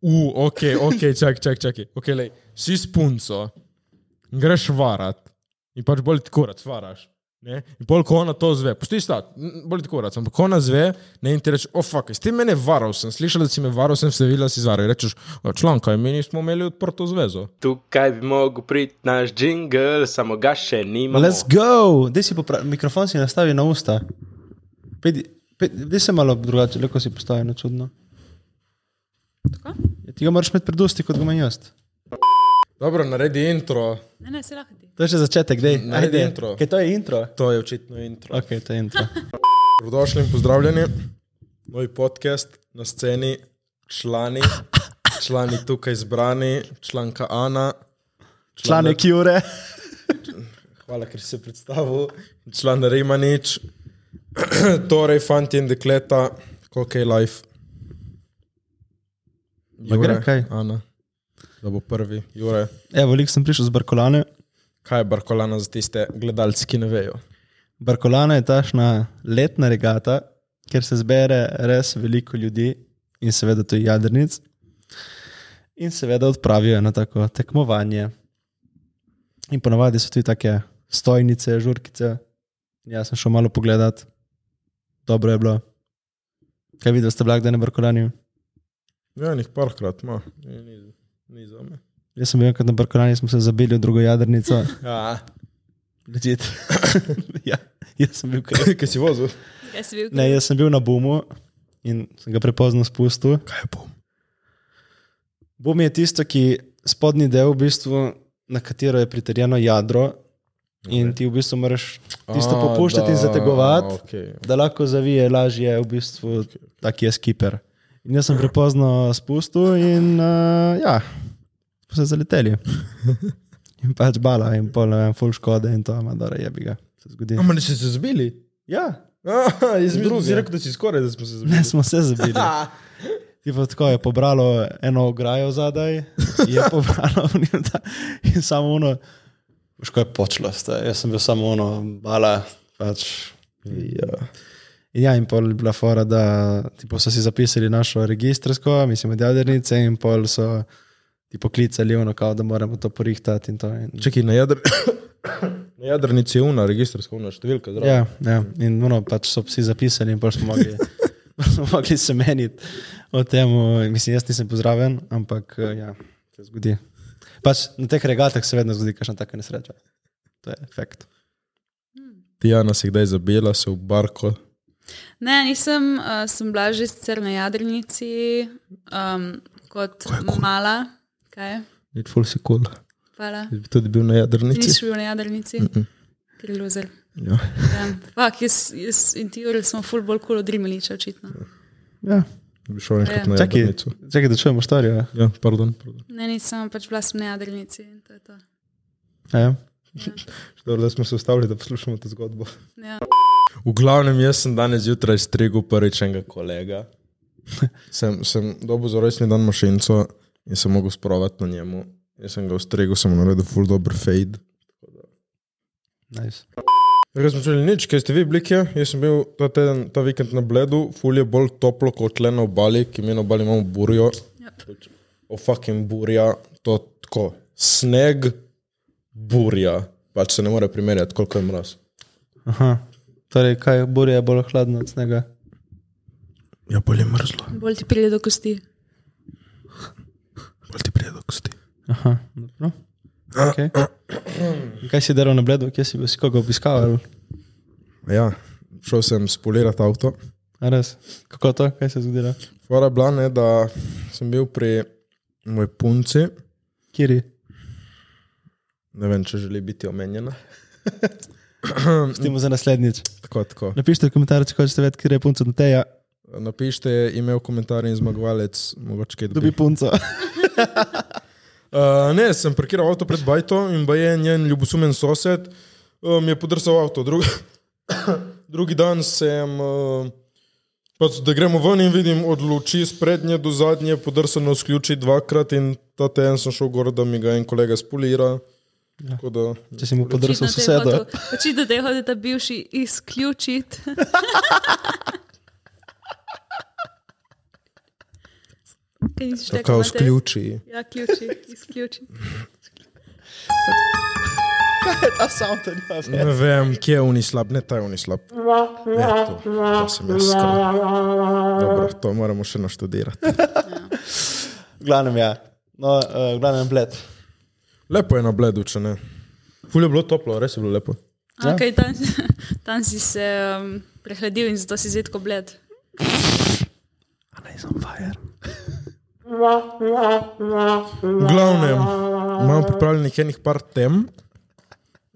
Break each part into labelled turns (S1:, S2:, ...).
S1: U, ok, ok, čak, čak, čak. Okay, lej, si s punco, greš varat in pač bolj ti korac varaš. Ne? In pol, ko ona to zve, pusti sta, bolj ti korac, ampak ko ona zve, ne in ti reče, o oh, fuck, si ti mene varal, sem slišal, da si me varal, sem se videl, da si zvaral. In Rečeš, "O, članka, mi nismo imeli odprto zvezo.
S2: Tukaj bi mogel priti naš jingle, samo ga še nimamo.
S3: Let's go, da si popra... mikrofon si nastavi na usta. Pejdi- pej- Daj se malo drugače, lahko si postavi na čudno.
S4: Tako?
S3: Ja, ti ga moraš imeti pred usti, kot ga imam jaz.
S1: Dobro, naredi intro.
S4: Ne, ne, se lahko ti.
S3: To je še začetek, dej.
S1: Naredi intro.
S3: Kaj to je intro?
S1: To je očitno intro.
S3: Ok, to je intro.
S1: Dobrodošli in pozdravljeni. Moj podcast na sceni, člani, člani tukaj zbrani, članka Ana.
S3: Članek Jure.
S1: Hvala, ker si se predstavil. Član Rimanič, torej fanti in dekleta, koliko je life.
S3: Ma gre kaj?
S1: Ana, da bo prvi, Jure.
S3: Evo, lik sem prišel z Barkolane.
S1: Kaj je Barkolana za tiste gledalce, ki ne vejo?
S3: Barkolana je tašna letna regata, kjer se zbere res veliko ljudi in seveda tudi jadrnic. In seveda odpravijo na tako tekmovanje. In ponavadi so tudi take stojnice, žurkice. Jaz sem šel malo pogledat, dobro je bilo. Kaj videl ste blagdane Barkolani?
S1: Ja, njih parkrat ima, ni, ni, ni za me.
S3: Jaz sem bil enkrat na Barkolani, smo se zabili v drugo jadrnico.
S1: Ja,
S3: Ljudje. ja, jaz sem bil kaj.
S1: ki si vozil.
S4: Jaz sem bil.
S3: Ne, jaz sem bil na Bumu in sem ga prepozno spustil.
S1: Kaj bom?
S3: Bum je tisto, ki spodnji del, v bistvu, na katero je pritrjeno jadro, in ti v bistvu moraš tisto
S1: A,
S3: popuščati in
S1: da,
S3: zategovati,
S1: okej.
S3: da lahko zavije lažje, v bistvu, tak je skiper. In jaz sem prepozno spustil in uh, ja, smo se zaleteli. In pač bala, in pol, ne vem, full škode in to, amadora je bi ga. Se zgodi.
S1: Ampak ne, če se zbili.
S3: Ja,
S1: Aha, jaz
S3: mislim, da si rekel,
S1: da si skoraj, da smo se
S3: ne smo se zabili. Tipo, tako je pobralo eno ograjo zadaj, je pobralo v njo ta- in samo ono. Veš, kaj je počelo, ste? jaz sem bil samo ono, bala. Pač. Ja. In ja, in pol je bila fora, da tipo, so si zapisali našo registrsko, mislim, od jadrnice, in pol so ti poklicali, ono, kao, da moramo to porihtati. In to, in...
S1: Čekaj, na, jadr... na jadrnici je una, registrska una številka. zraven.
S3: Ja, ja, in ono, pač so vsi zapisali, in pač smo mogli, smo mogli se meniti o tem. Mislim, jaz nisem pozdravljen, ampak eh, ja, se zgodi. Pač na teh regatah se vedno zgodi kakšna taka nesreča. To je efekt.
S1: Tijana si kdaj zabila, se v barko.
S4: Ne, nisem, uh, sem bila že sicer na jadrnici um, kot mala. Kaj?
S1: Ni ful si kul, cool.
S4: Hvala.
S1: bi tudi bil na jadrnici.
S4: Nisi bil na jadrnici, ker je loser.
S1: Ja.
S4: Ja, Fak, jaz, jaz in ti, Jurek, smo ful bolj kul od Rimeliča, očitno.
S3: Ja.
S1: Bi šel enkrat na
S3: Čakaj,
S1: jadrnico.
S3: čakaj, da čujemo štorijo.
S1: Ja, pardon. pardon.
S4: Ne, nisem, pač bila sem na jadrnici. in to je to.
S3: Ja, ja.
S1: Dobro, da smo se ustavili, da poslušamo to zgodbo.
S4: Ja.
S1: V glavnem, jaz sem danes zjutraj strigel prvič enega kolega. Sem, sem dobil za rojstni dan mašinco in sem mogel sprovati na njemu. Jaz sem ga ustrigel, sem mu naredil full dobro fade.
S3: Nice.
S1: Res smo čuli nič, kaj ste vi bili kje. Jaz sem bil ta teden, ta vikend na Bledu, ful je bolj toplo kot le na obali, ki mi na obali imamo burjo.
S4: Yep.
S1: Pač, O fucking burja, to tako. Sneg, burja. Pač se ne more primerjati, koliko je mraz.
S3: Aha. Torej, kaj burje je bolj hladno od snega?
S1: Ja, bolje mrzlo,
S4: Bolj ti pride do kosti.
S1: bolj ti prije do kosti.
S3: Aha, dobro. Okay. In Kaj si delal na bledu, kje si bil, si koga obiskal? ali?
S1: Ja, šel sem spolirati avto.
S3: A Res. Kako to, kaj se je zgodilo?
S1: Hvala je bila, ne, da sem bil pri moji punci,
S3: Kiri?
S1: ne vem, če želi biti omenjena.
S3: Pustimo za naslednjič.
S1: Tako, tako.
S3: Napišite v komentarju, če hočete vedeti, kje je punca do teja,
S1: Napišite ime v komentarju in zmagovalec, mogoče kaj dobi.
S3: dobi punco.
S1: Uh, ne, sem parkiral avto pred bajto in pa je njen ljubosumen sosed uh, mi je podrsal avto. Drugi, drugi dan sem, uh, pač, da gremo ven in vidim od luči z prednje do zadnje podrsano sključi dvakrat in ta teden sem šel gor, da mi ga en kolega spolira. Ja. Da,
S3: Če si mu podrsal
S4: Očitno te je
S3: sosedo.
S4: hotel- Očitno te je hotel ta bivši izključiti. Kaj nisi še
S1: Kao
S4: rekel? Matej?
S1: sključi.
S4: Ja, ključi, izključi.
S3: Ta sound je njen.
S1: Ne vem, kje je unislab, ne ta je unislab. Ne, to, to sem jaz skoro. Dobro, to moramo še naštudirati.
S3: Glavnem, ja. No, uh, glavnem, bled.
S1: Lepo je na bledu, če ne. Ful je bilo toplo, res je bilo lepo.
S3: Ja.
S4: Okay, tam, tam si se um, prehladil in zato si zdaj tako bled.
S3: Ne, sem fire.
S1: V glavnem, imam pripravljenih enih par tem.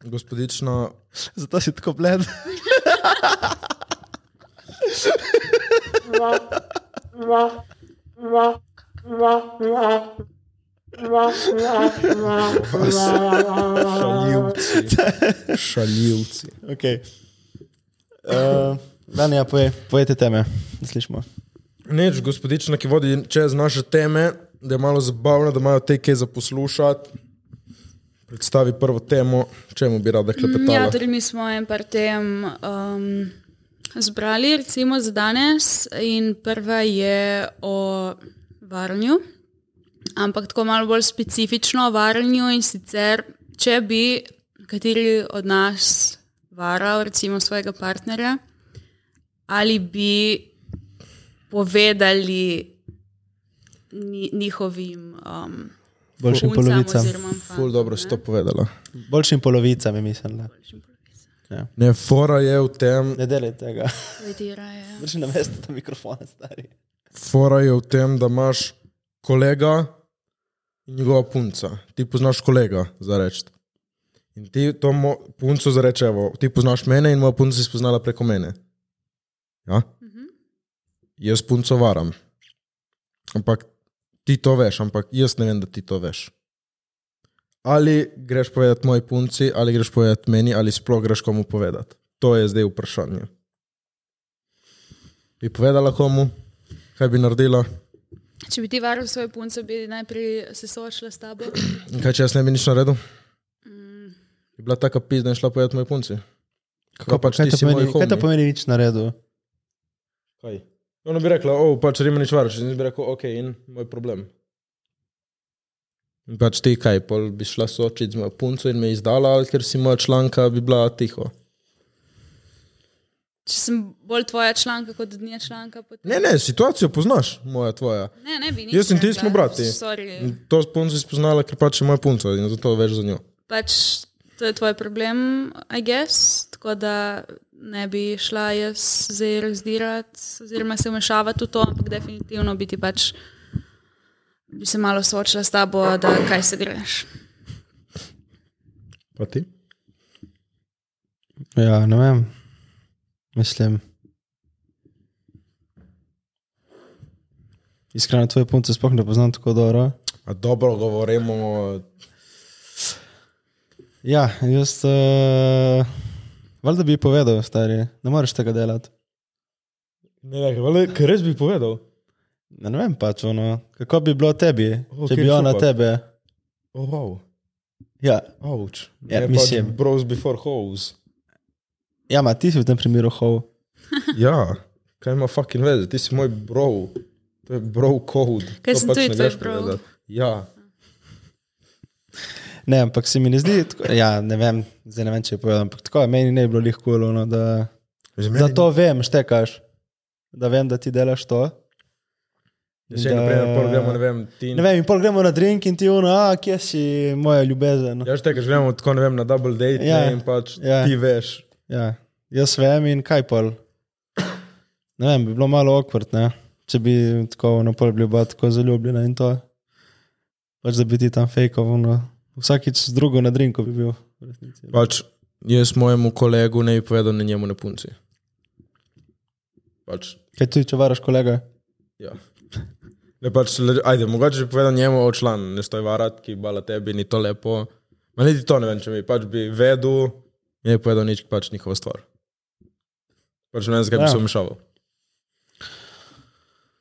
S1: Gospodična,
S3: Zato si tako bled.
S1: šaljivci. šaljivci.
S3: okay. uh, Dani, ja, poje, pojete teme, slišimo.
S1: Neč, gospodična, ki vodi čez naše teme, da je malo zabavno, da imajo te kaj za poslušati. Predstavi prvo temo, čemu bi rada klepetala.
S4: Ja, torej mi smo en par tem um, zbrali, recimo za danes, in prva je o varnju, ampak tako malo bolj specifično o varnju in sicer, če bi kateri od nas varal, recimo svojega partnerja, ali bi povedali ni, njihovim um,
S3: Boljšim
S4: puncam
S3: polovicam.
S4: oziroma fantom,
S1: Ful dobro
S4: ne.
S1: si to povedala.
S3: Boljšim polovicam je mislila.
S1: Ne, fora je v tem,
S3: Ne delaj tega.
S4: Poetirajo.
S3: Drži na mestu ta mikrofon, stari.
S1: fora je v tem, da imaš kolega in njegova punca. Ti poznaš kolega, za reči. In ti to mo- punco zareče, evo, ti poznaš mene in moja punca si spoznala preko mene. Ja? Jaz punco varam. Ampak ti to veš, ampak jaz ne vem, da ti to veš. Ali greš povedati moji punci, ali greš povedati meni, ali sploh greš komu povedati. To je zdaj vprašanje. Bi povedala komu, kaj bi naredila?
S4: Če bi ti varal svojo punco, bi najprej se soočila s tabo.
S1: In kaj, če jaz ne bi nič naredil? Je bila taka pizda in šla povedati moji punci. Kako pač
S3: kaj
S1: ti
S3: to
S1: si moj
S3: pomeni, kaj to
S1: homi?
S3: pomeni nič na redu?
S1: Kaj? Ona bi rekla, o, pač rima nič varaš. In jaz bi rekel, ok, in moj problem. In pač ti kaj, pol bi šla soočiti z mojo punco in me izdala, ali ker si moja članka, bi bila tiho.
S4: Če sem bolj tvoja članka kot od nje članka, potem
S1: Ne, ne, situacijo poznaš, moja, tvoja.
S4: ne, ne bi nič.
S1: Jaz in ti
S4: rekla.
S1: smo brati. Mm.
S4: Sorry.
S1: In to punco si spoznala, ker pač je moja punca in zato veš za njo.
S4: Pač to je tvoj problem, I guess. Tako da ne bi šla jaz zdaj razdirati oziroma se vmešavati v to, ampak definitivno bi ti pač bi se malo soočila s tabo, da kaj se greš.
S1: Pa ti?
S3: Ja, ne vem. Mislim. Iskreno, tvoje punce sploh ne poznam tako dobro.
S1: A dobro govorimo,
S3: Ja, jaz. Uh, valjda bi ji povedal, stari, ne moreš tega delati.
S1: ne vem, vale, ker res bi povedal.
S3: Ne, ne vem pač, ono, kako bi bilo tebi, okay, če
S1: Okej,
S3: bi ona
S1: super.
S3: tebe.
S1: Oh, wow.
S3: Ja,
S1: Ouch.
S3: Ja, Ne, pač mislim-
S1: bros before hoes.
S3: ja ma, ti si v tem primeru hov.
S1: ja, kaj ima fucking veze, ti si moj bro. To je bro code.
S4: Kaj
S1: To
S4: sem
S1: pač
S4: tudi
S1: ne
S4: tvoj
S1: greš
S4: bro?
S1: povedat. Ja,
S3: Ne, ampak se mi ne zdi, tako, ja, ne vem, zdaj ne vem, če je povedal, ampak tako je, meni ne bi bilo lih kulo, no, da, da to vem, štekaš, da vem, da ti delaš to.
S1: Ja, Še en primer, prvo gremo, ne vem, ti.
S3: Ne vem, in pol gremo na drink in ti uno, a kje si moja ljubezen. Ja.
S1: Ja, že tega gremo tako, ne vem, na double date
S3: Ja.
S1: ja. in pač
S3: Ja.
S1: ja. ti veš.
S3: Ja, jaz vem in kaj pol. Ne vem, bi bilo malo okvrt, ne? če bi tako napol bila bila tako zaljubljena in to. Pač da bi ti tam fejkoval. Vsakič z drugo na drinku bi bil. v resnici.
S1: Pač jaz mojemu kolegu ne bi povedal, ne njemu ne punci. Pač,
S3: Kaj ti, če varaš kolega?
S1: ja. Ne, pač, le, ajde, mogoče bi povedal njemu o član, ne stoj varat, ki bala tebi, ni to lepo. Ma niti to ne vem, če bi pač bi vedel, ne bi povedal nič, pač njihova stvar. Pač ne vem, zakaj bi
S3: Ja.
S1: se vmešaval.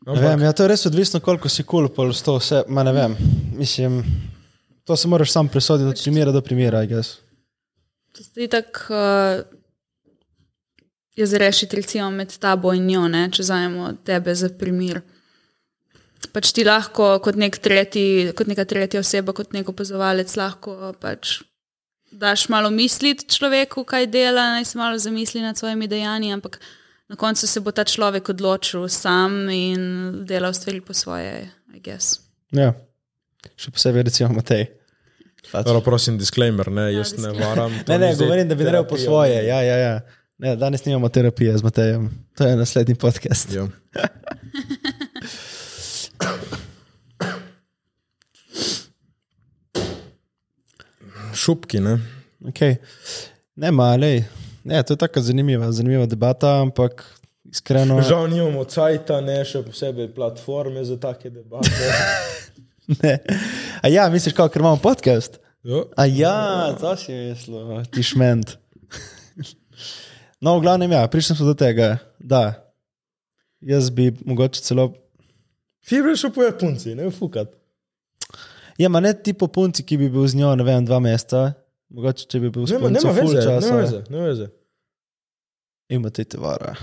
S3: Ne vem, ja, to je res odvisno, koliko si kul, cool, pol s to vse, ma ne vem. Mislim, to se moraš sam presoditi od primera do primera, jaz.
S4: To je tako, uh, je zrešiti recimo med tabo in njo, ne? če zajemo tebe za primer. pač ti lahko kot, nek tretji, kot neka tretja oseba, kot nek opazovalec, lahko pač daš malo misliti človeku, kaj dela, naj se malo zamisli nad svojimi dejanji, ampak na koncu se bo ta človek odločil sam in delal stvari po svoje, I guess.
S3: Ja. Še posebej, recimo, Matej. Pač.
S1: Dobro, prosim, disclaimer, ne, jaz ne
S4: disclaimer.
S1: varam. to
S3: Ne, ne,
S1: ni zdaj
S3: govorim, da bi naredil po
S1: terapija.
S3: svoje. Ja, ja, ja. Ne, danes nimamo terapije z Matejem. To je naslednji podcast.
S1: Ja. Šupki, ne?
S3: Okay. Ne, malej. Ne, to je tako zanimiva, zanimiva debata, ampak iskreno.
S1: Žal nimamo cajta, ne še posebej platforme za take debate.
S3: Ne. A ja, misliš, kako, ker imamo podcast?
S1: Jo.
S3: A ja, to si mislil, ti šment. No, v glavnem, ja, prišli smo do tega, da jaz bi mogoče celo.
S1: Ti bi šel poje punci, ne fukat.
S3: Ja, ma ne ti po punci, ki bi bil z njo, ne vem, dva mesta, mogoče če bi bil z
S1: Nema, nema
S3: punco full
S1: veze, nema
S3: časa.
S1: veze, nema veze.
S3: Imate tovara.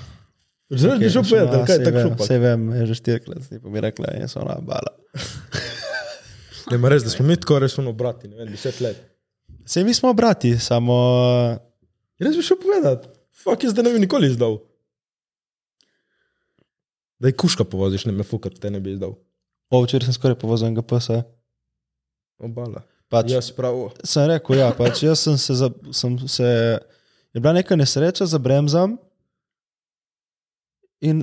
S1: Zdaj bi šel poje, kaj je tako šupak.
S3: Vse vem, je že štirikrat, ti pa mi rekla, jaz sem ona bala.
S1: Ne, ma res, da smo mi tako resno brati, ne vem, deset let.
S3: Vse mi smo brati, samo
S1: Res bi šel povedati. Fak, jaz da ne bi nikoli izdal. Da je kuška povoziš, ne me fukat, te ne bi izdal.
S3: o, včeraj sem skoraj povozil enega psa.
S1: Obala.
S3: Pač,
S1: Jaz pravo.
S3: sem rekel, ja, pač jaz sem se, za, sem se, je bila neka nesreča, zabremzam in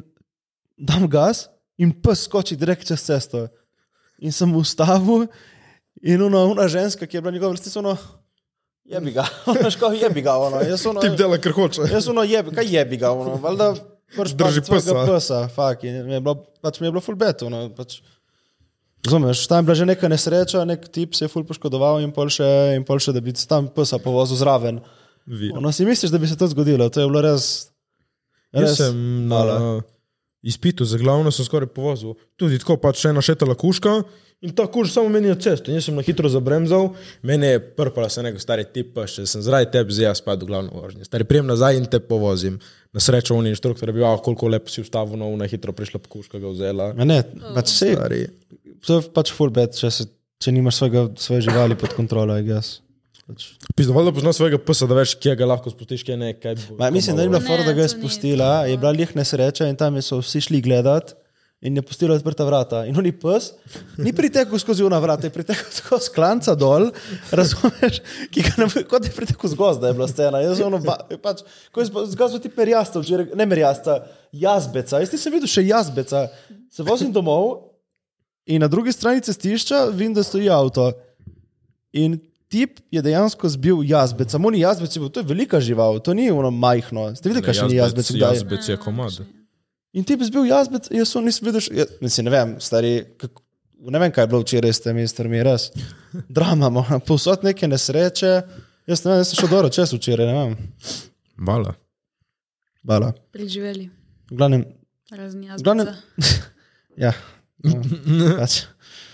S3: dam gas, in pes skoči direkt čez cesto. In sem ustavil, in ona, ona ženska, ki je bila njegova vrstnica, ono, jebi ga, ono, ško, jebi ga, ono, jaz ono,
S1: Tip dela, kar hoče.
S3: jaz ono, jebi, kaj jebi ga, ono, valjda, pač
S1: Drži
S3: pač svojega
S1: psa.
S3: psa, fak, in mi je bilo, pač mi je bilo fulbet, ono, pač. Razumeš, tam je bila že neka nesreča, nek tip se je ful poškodoval in pol še, in pol še da bi tam psa povozil zraven.
S1: Vi.
S3: Ono si misliš, da bi se to zgodilo, to je bilo res.
S1: Jaz sem
S3: Hvala.
S1: na izpitu za glavno sem skoraj povozil. Tudi tako pač še ena šetala kuška in ta kuž samo meni je cesto. In jaz sem na hitro zabremzal, mene je prpala se neko stari tip, pa še sem zraven tebe zdaj jaz spadal v glavno vožnjo. Stari prijem nazaj in te povozim. Na srečo on inštruktor je bil, "Ah, koliko lepo si ustavil, no, na hitro prišla pa kuška ga vzela.
S3: Ma Ne, pač se,
S1: Stari.
S3: to je pač fulbet, če, se- če nimaš svojega, svoje živali pod kontrolo, jaz. Pač.
S1: Pizdoval, da poznaš svojega psa, da veš, kje ga lahko spustiš, kje ne. Kaj bo,
S3: Ma, mislim, da je bila
S4: Ne,
S3: fora, da ga je
S4: to ni
S3: spustila, je bila lih nesreča in tam so vsi šli gledati. In je pustila odprta vrata. In oni pes ni pritekel skozi ona vrata, je pritekel tako sklanca dol, razumeš, ki ga ne bo, kot da je pritekel z gozda, je bila scena. Jaz ono, ba, pač, ko je z gozda ti perjasta, včeraj- ne merjasta, jazbeca. Jaz nisem videl še jazbeca. Se vozim domov in na drugi strani cestišča vidim, da stoji avto. In tip je dejansko zbil jazbec, samo ni jazbec, je bil, to je velika žival, to ni ono majhno. Ste videli, kakšen je jazbec? kdaj?
S1: Jazbec je komad.
S3: In tip je zbil jazbec, jaz to nisem videl, še- jaz, mislim, ne vem, stari, kako, ne vem, kaj je bilo včeraj s temi strmi, res. Drama, moram, povsod neke nesreče, jaz ne vem, jaz sem šel dobro čez včeraj, ne vem,
S1: Vala.
S3: bala.
S4: Preživeli,
S3: V glavnem,
S4: razen jaz.
S3: V glavnem, ja, no, pač.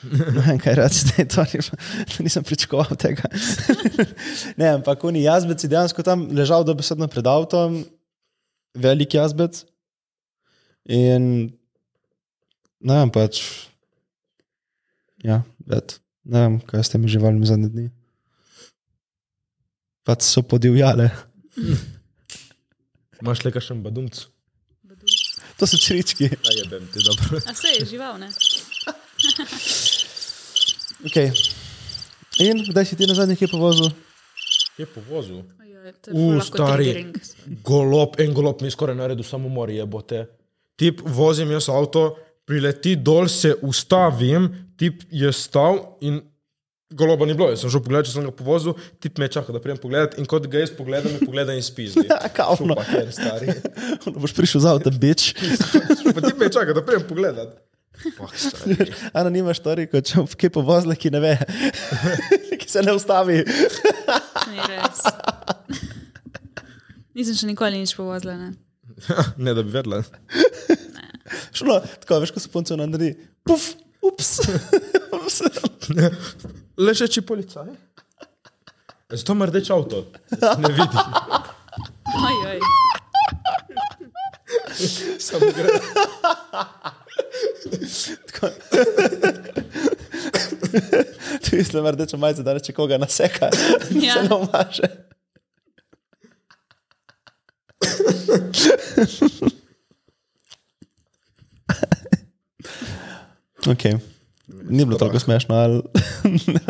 S3: Ne vem, kaj reči, da je to ni, da nisem pričakoval tega. ne, ampak oni jazbec je dejansko tam ležal dobesedno pred avtom, velik jazbec. In ne vem, pač. Ja, bet. Ne vem, kaj ste mi živalmi zadnje dni. Pač so podivjale.
S1: Imaš le kakšen badumc?
S3: To so črički.
S1: Aj, jebem ti, dobro.
S4: A se je žival, ne?
S3: Okay. In kdaj si ti na zadnji kaj povozil?
S1: Je po vozu.
S4: Ojoj, to je
S1: U,
S4: ful lahko
S1: stari.
S4: triggering.
S1: Golop, en golop mi je skoraj naredil samomor, jebote. Tip, vozim jaz avto, prileti dol, se ustavim, tip je stal in goloba ni bilo. Jaz sem šel pogledat, če sem ga povozil, tip me čaka, da prijem pogledat in kot ga jaz pogledam, me pogleda in spizdi.
S3: Ja, kao, no.
S1: Šupak, ker stari.
S3: Ono boš prišel za avto, bič.
S1: Pa tip me čaka, da prijem pogledat. Fuck, stari.
S3: Ana nima štori, kot če kaj povozila, ki ne ve, ki se ne ustavi.
S4: Ni res. Nisem še nikoli nič povozila, ne?
S1: Ah, Ne, da bi vedela.
S3: Šlo, tako veš, ko se punce naredi. Puf, ups. ups.
S1: Ležeči policaj. Zato ima rdeč avto. Ne vidi.
S4: Ojoj.
S1: Samo gre.
S3: Tako. Ti mislim, rdeča majica, da reče koga naseka, ja.
S4: Ja.
S3: se namaže. okay. Ni bilo tako smešno, ali...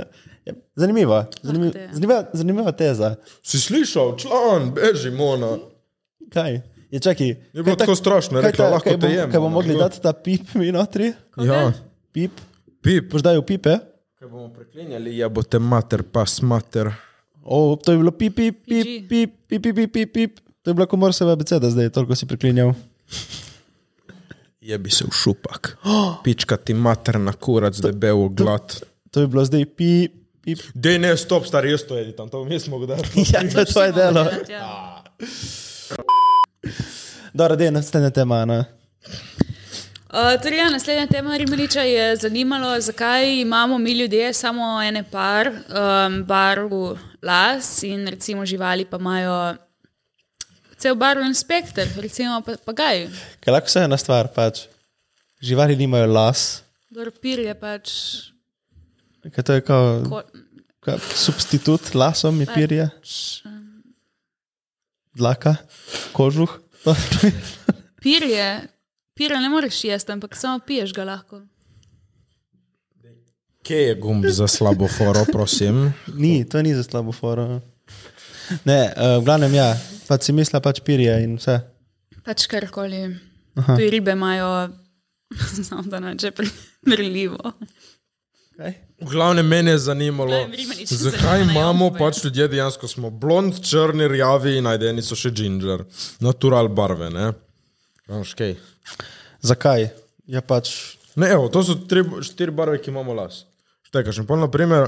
S3: Ja, zanimiva, zanimiva,
S4: Lahko te je.
S3: zanimiva, zanimiva teza.
S1: Si slišal, član, beži, mona.
S3: Kaj? Je, čakaj,
S1: Je bilo tako strašno, je rekla, lahko te no." jem.
S3: Kaj bomo
S1: ona.
S3: mogli dati ta pip mi notri?
S1: Ja,
S3: Pip,
S1: pip.
S3: boš dal pipe?
S1: Kaj bomo preklinjali, ja bo te mater, pas mater.
S3: O, to je bilo pip, pip,
S4: PG.
S3: pip, pip, pip, pip, pip, pip, pip. To je bila komorseva beseda, zdaj toliko si priklinjal.
S1: Je bi se v šupak. Pička ti mater na kurac, debel glad.
S3: To je bilo zdaj pip, pip.
S1: Dej ne, stop, star, jaz to jedi tam, to mi smo ga dali.
S3: Ja, to je tvoje delo.
S4: Ja.
S3: Dobro, da je naslednja tema. Ne?
S4: Uh, torej, ja, naslednja tema Rimeliča je zanimalo, zakaj imamo mi ljudje samo ene par um, barv las in recimo živali pa imajo cel barven spekter, recimo pa, pa gaj.
S3: Ker lahko se ena stvar, pač. Živali nimajo las,
S4: Dorpir je pač
S3: ker to je kot
S4: ko,
S3: ka, substitut lasom in pirje. Dlaka, kožuh.
S4: pirje. Pirje ne moreš jesti, ampak samo piješ ga lahko.
S1: Kje je gumb za slabo foro, prosim?
S3: Ni, to ni za slabo foro. no. Ne, uh, v glavnem ja, pač si misla pač pirje in vse.
S4: Pač karkoli. Tudi ribe imajo, znam, da ne če primerljivo.
S3: Kaj?
S1: V glavnem mene je zanimalo,
S4: Glavnem, Rimanič se
S1: zakaj
S4: zanimajo,
S1: imamo
S4: povej.
S1: pač ljudje dejansko smo blond, črni, rjavi in najdeni so še ginger, natural barve, ne? Veš kaj?
S3: Zakaj? Ja, pač
S1: Ne, evo, to so tri, štiri barve, ki imamo las. Štekaš, in pa naprimer,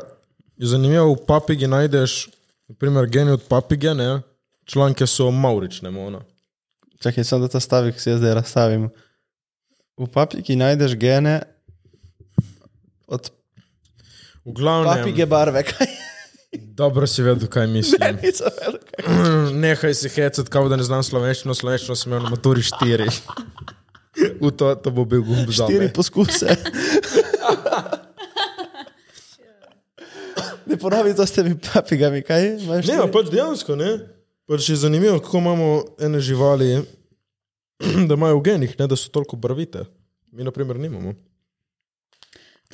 S1: je zanimivo, v papigi najdeš, naprimer, genij od papige, ne? Članke so maurične, mona.
S3: Čakaj, samo da ta stavek si jaz zdaj razstavim. V papiki najdeš gene od
S1: V glavnem,
S3: papige barve, kaj
S1: dobro si vedel, kaj mislim.
S3: niso velike.
S1: Nehaj si hecati, kao da ne znam slovenščino, slovenščino sem imel na maturi štiri. V to, to bo bil gumb za
S3: Štiri
S1: me.
S3: poskuse. Ne ponovi to s temi papigami, kaj imaš?
S1: Ne,
S3: štiri?
S1: a pač dejansko ne. Pač je zanimivo, kako imamo ene živali, da imajo v genih, ne da so toliko barvite. Mi, na primer, nimamo.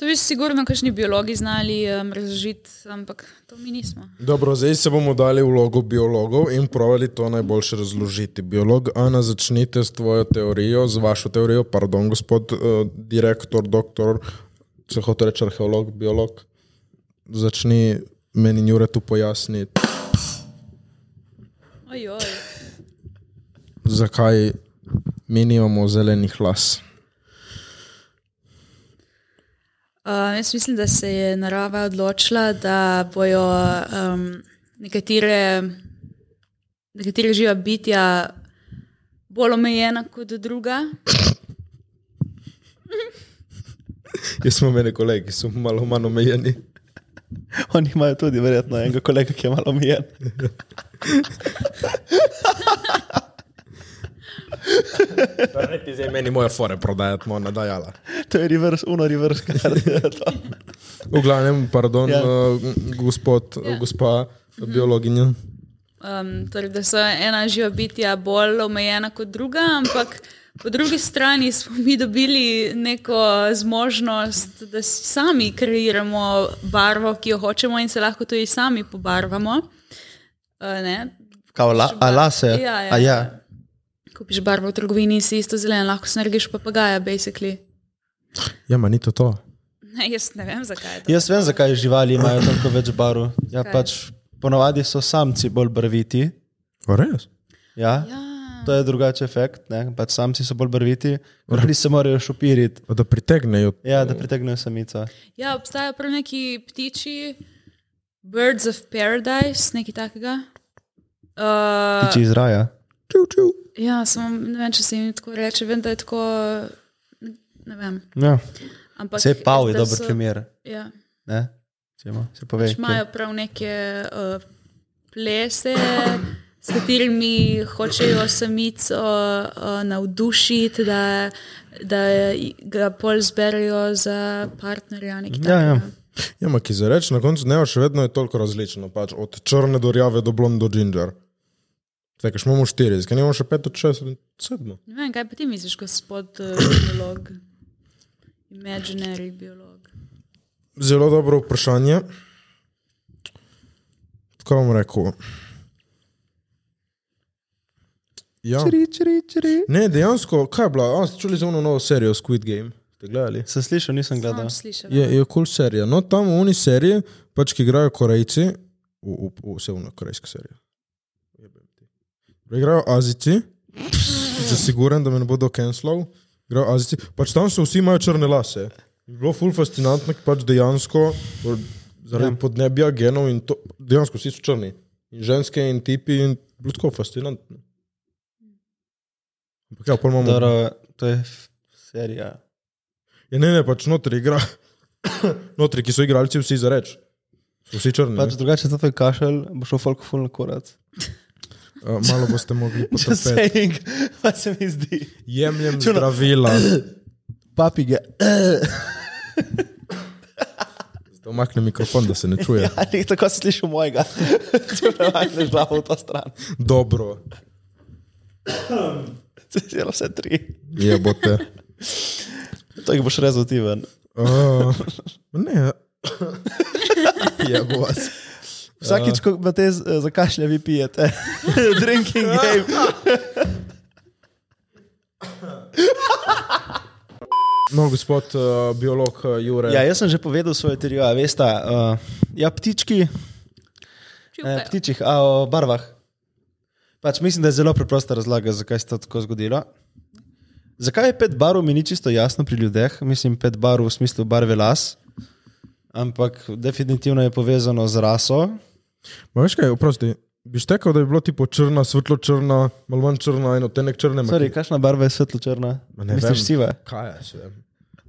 S4: To bi sigurno kakšni biologi znali um, razložiti, ampak to mi nismo.
S1: Dobro, zdaj se bomo dali vlogo biologov in provali to najboljše razložiti. Biolog, Ana, začnite s tvojo teorijo, z vašo teorijo, pardon, gospod uh, direktor, doktor, če hoče reči arheolog, biolog, začni meni in Juretu pojasniti,
S4: Ojoj.
S1: zakaj mi nimamo zelenih las.
S4: Uh, jaz mislim, da se je narava odločila, da bojo um, nekatere, nekatere živa bitja bolj omejena kot druga.
S1: Jaz smo imeli kolegi, ki so malo manj omejeni.
S3: Oni imajo tudi verjetno enega kolega, ki je malo miren.
S1: Ti zdaj meni moje fore prodajati, moja nadajala.
S3: To je reverse, uno reverse card.
S1: V glavnem, pardon, ja.
S3: Ja.
S1: uh, gospod, ja. gospa, biologinja.
S4: Um, torej, da so ena živa bitja bolj omejena kot druga, ampak po drugi strani smo mi dobili neko zmožnost, da si sami kreiramo barvo, ki jo hočemo, in se lahko tudi sami pobarvamo. Uh, ne?
S3: Kao la, a lase.
S4: Ja, ja.
S3: A ja.
S4: Kupiš barvo v trgovini in si isto zelen, lahko si narediš papagaja, basically.
S1: Ja, ma ni to to.
S4: Ne, jaz ne vem, zakaj je to.
S3: Jaz vem, zakaj živali imajo toliko več barv. Ja,
S4: Kaj?
S3: pač ponavadi so samci bolj barviti.
S1: A Res?
S3: Ja.
S4: Ja,
S3: To je drugačen efekt, ne? pač samci so bolj brviti, oni se morajo šopiriti,
S1: Pa Da pritegnejo.
S3: ja, da pritegnejo samica.
S4: ja obstajajo prav neki ptiči, Birds of Paradise, nekaj takega. Uh,
S3: Tiči iz raja.
S1: Čuv, čuv.
S4: Ja, samo ne vem, če se jim tako reče, vem, da je tako. Ne vem.
S3: Ja.
S4: Ampak,
S3: Se je pav, je
S4: da
S3: dober
S4: so-
S3: primer.
S4: Ja,
S3: Ne? Če ima- Se pove,
S4: pač imajo prav neke uh, plese, eh, s katerimi hočejo samico uh, navdušiti, da, da ga pol zberijo za partnerja. nekaj
S3: Ja, ja.
S4: takega.
S1: Ja, ampak ki za reč, na koncu dneva še vedno je toliko različno, pač od črne do rjave do blond do ginger. Tako, še imamo štiri, zdaj imamo še pet, od šest, od sedmo.
S4: Ne vem, kaj pa ti misliš, gospod eh, biolog, imaginary biolog.
S1: Zelo dobro vprašanje. Tako vam rekel. Ja. Ne, dejansko, kaj je bila? A, ste čuli za ono novo serijo Squid Game? Ste gledali?
S3: Sem slišal, nisem gledal.
S4: Sam slišal.
S1: Je kul cool serija. No, tam v oni seriji, pač ki igrajo Korejci, v- v- v- vse vna korejska serija. Jebem ti. Igrajo Azici, zasiguran, da me ne bodo cancelov. Igrajo Azici, pač tam so vsi imajo črne lase. Je bilo ful fascinantno, ker pač dejansko or- zaradi podnebja, genov in to, dejansko vsi so črni. In ženske in tipi in bilo tako fascinantno. Ampak ja, pol imamo
S3: Doro, to je f- serija.
S1: Ja, ne, ne, pač notri igra. notri, ki so igralci, vsi za reč. Vsi črni.
S3: Pač
S1: Pač,
S3: drugače, to je kašelj, bo šel folk full na korat.
S1: uh, malo boste mogli
S3: Just
S1: potrpeti.
S3: saying, pa se mi zdi.
S1: Jemljem
S3: Čuno.
S1: zdravila.
S3: Papige, eh,
S1: Omakne mikrofon, da se ne čuje.
S3: ali tako si slišal mojega. Če ne vajneš glavo v to stran.
S1: Dobro,
S3: Se je zdelo vse tri.
S1: je bote.
S3: To jih boš rezal ti ven.
S1: Uh, ne. je bo vas.
S3: Vsakič, ko me te z- zakašlje, vi pijete. Drinking game.
S1: No, gospod uh, biolog uh, Jure.
S3: Ja, jaz sem že povedal svojo teorijo, a veste. Uh, ja, ptički,
S4: Čupajo.
S3: ne, E, ptičjih, a o barvah. Pač mislim, da je zelo preprosta razlaga, zakaj se je to tako zgodilo. Zakaj je pet barv, mi ni čisto jasno pri ljudeh, mislim, pet barv v smislu barve las, ampak definitivno je povezano z raso.
S1: Ma veš kaj, oprosti. Biš tekel, da je bilo tipo črna, svetlo črna, malo manj črna in odtenek črne. ma
S3: Sorry,
S1: ki-
S3: kakšna barva je svetlo črna?
S1: Ma ne
S3: Misliš
S1: vem.
S3: siva?
S1: Kaj je še?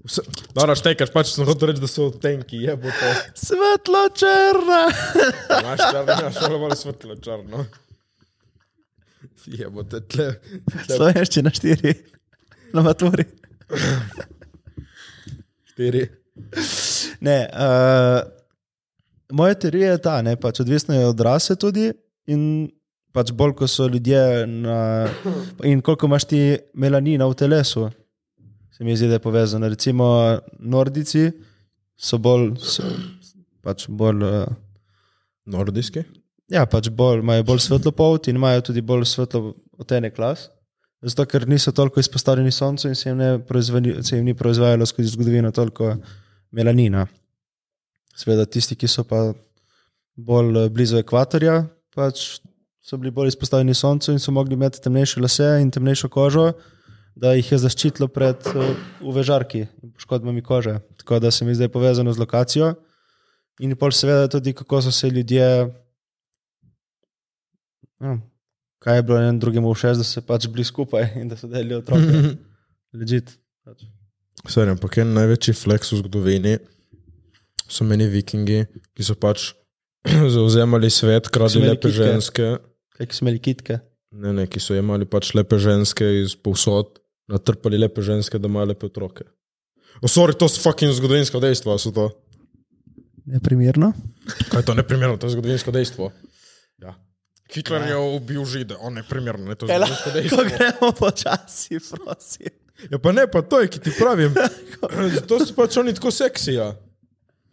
S1: Vse... Dobro, štekaš, pač sem hotel reči, da so odtenki, je bo to.
S3: Svetlo črna!
S1: Imaš črno, imaš malo bolj svetlo črno. Je bo te tle. tle
S3: Slovenščina štiri, na maturi.
S1: štiri.
S3: Ne, uh, moja teorija je ta, ne, pač odvisno je od rase tudi. In pač bolj, ko so ljudje na, in koliko imaš ti melanina v telesu, se mi zdi, da je povezano. Recimo nordici so bolj, so, pač bolj, uh,
S1: Nordijski?
S3: ja, pač bolj, imajo bolj svetlo polt in imajo tudi bolj svetlo otenek las. Zato, ker niso toliko izpostavljeni soncu in se jim, ne proizvali- se jim ni proizvajalo skozi zgodovino toliko melanina. Sveda, tisti, ki so pa bolj eh, blizu ekvatorja, pač so bili bolj izpostavljeni soncu in so mogli imeti temnejše lase in temnejšo kožo, da jih je zaščitilo pred eh, uvežarki in poškodbami kože. Tako da se mi zdaj povezano z lokacijo. In pol seveda tudi, kako so se ljudje Ja. Kaj je bilo enem drugemu všeč, da se pač bili skupaj in da so delili otroke. Ležit. Pač.
S1: Sorry, ampak en največji fleks v zgodovini so meni vikingi, ki so pač zauzemali svet,
S3: So
S1: kradli
S3: imeli
S1: lepe
S3: kitke.
S1: ženske.
S3: Kaj ki smo imeli kitke.
S1: Ne, ne, ki so jemali pač lepe ženske iz povsod, natrpali lepe ženske, da imajo lepe otroke. O, sorry, to so fucking zgodovinska dejstva, so to.
S3: Neprimerno.
S1: Kaj je to neprimerno, to je zgodovinsko dejstvo. Ja. Hitler je ubil žide, on je primerno, ne to je zgodovinsko dejstvo.
S3: Ko gremo počasi, prosim.
S1: Ja, pa ne, pa to je, ki ti pravim. Zato so pač oni tako seksija,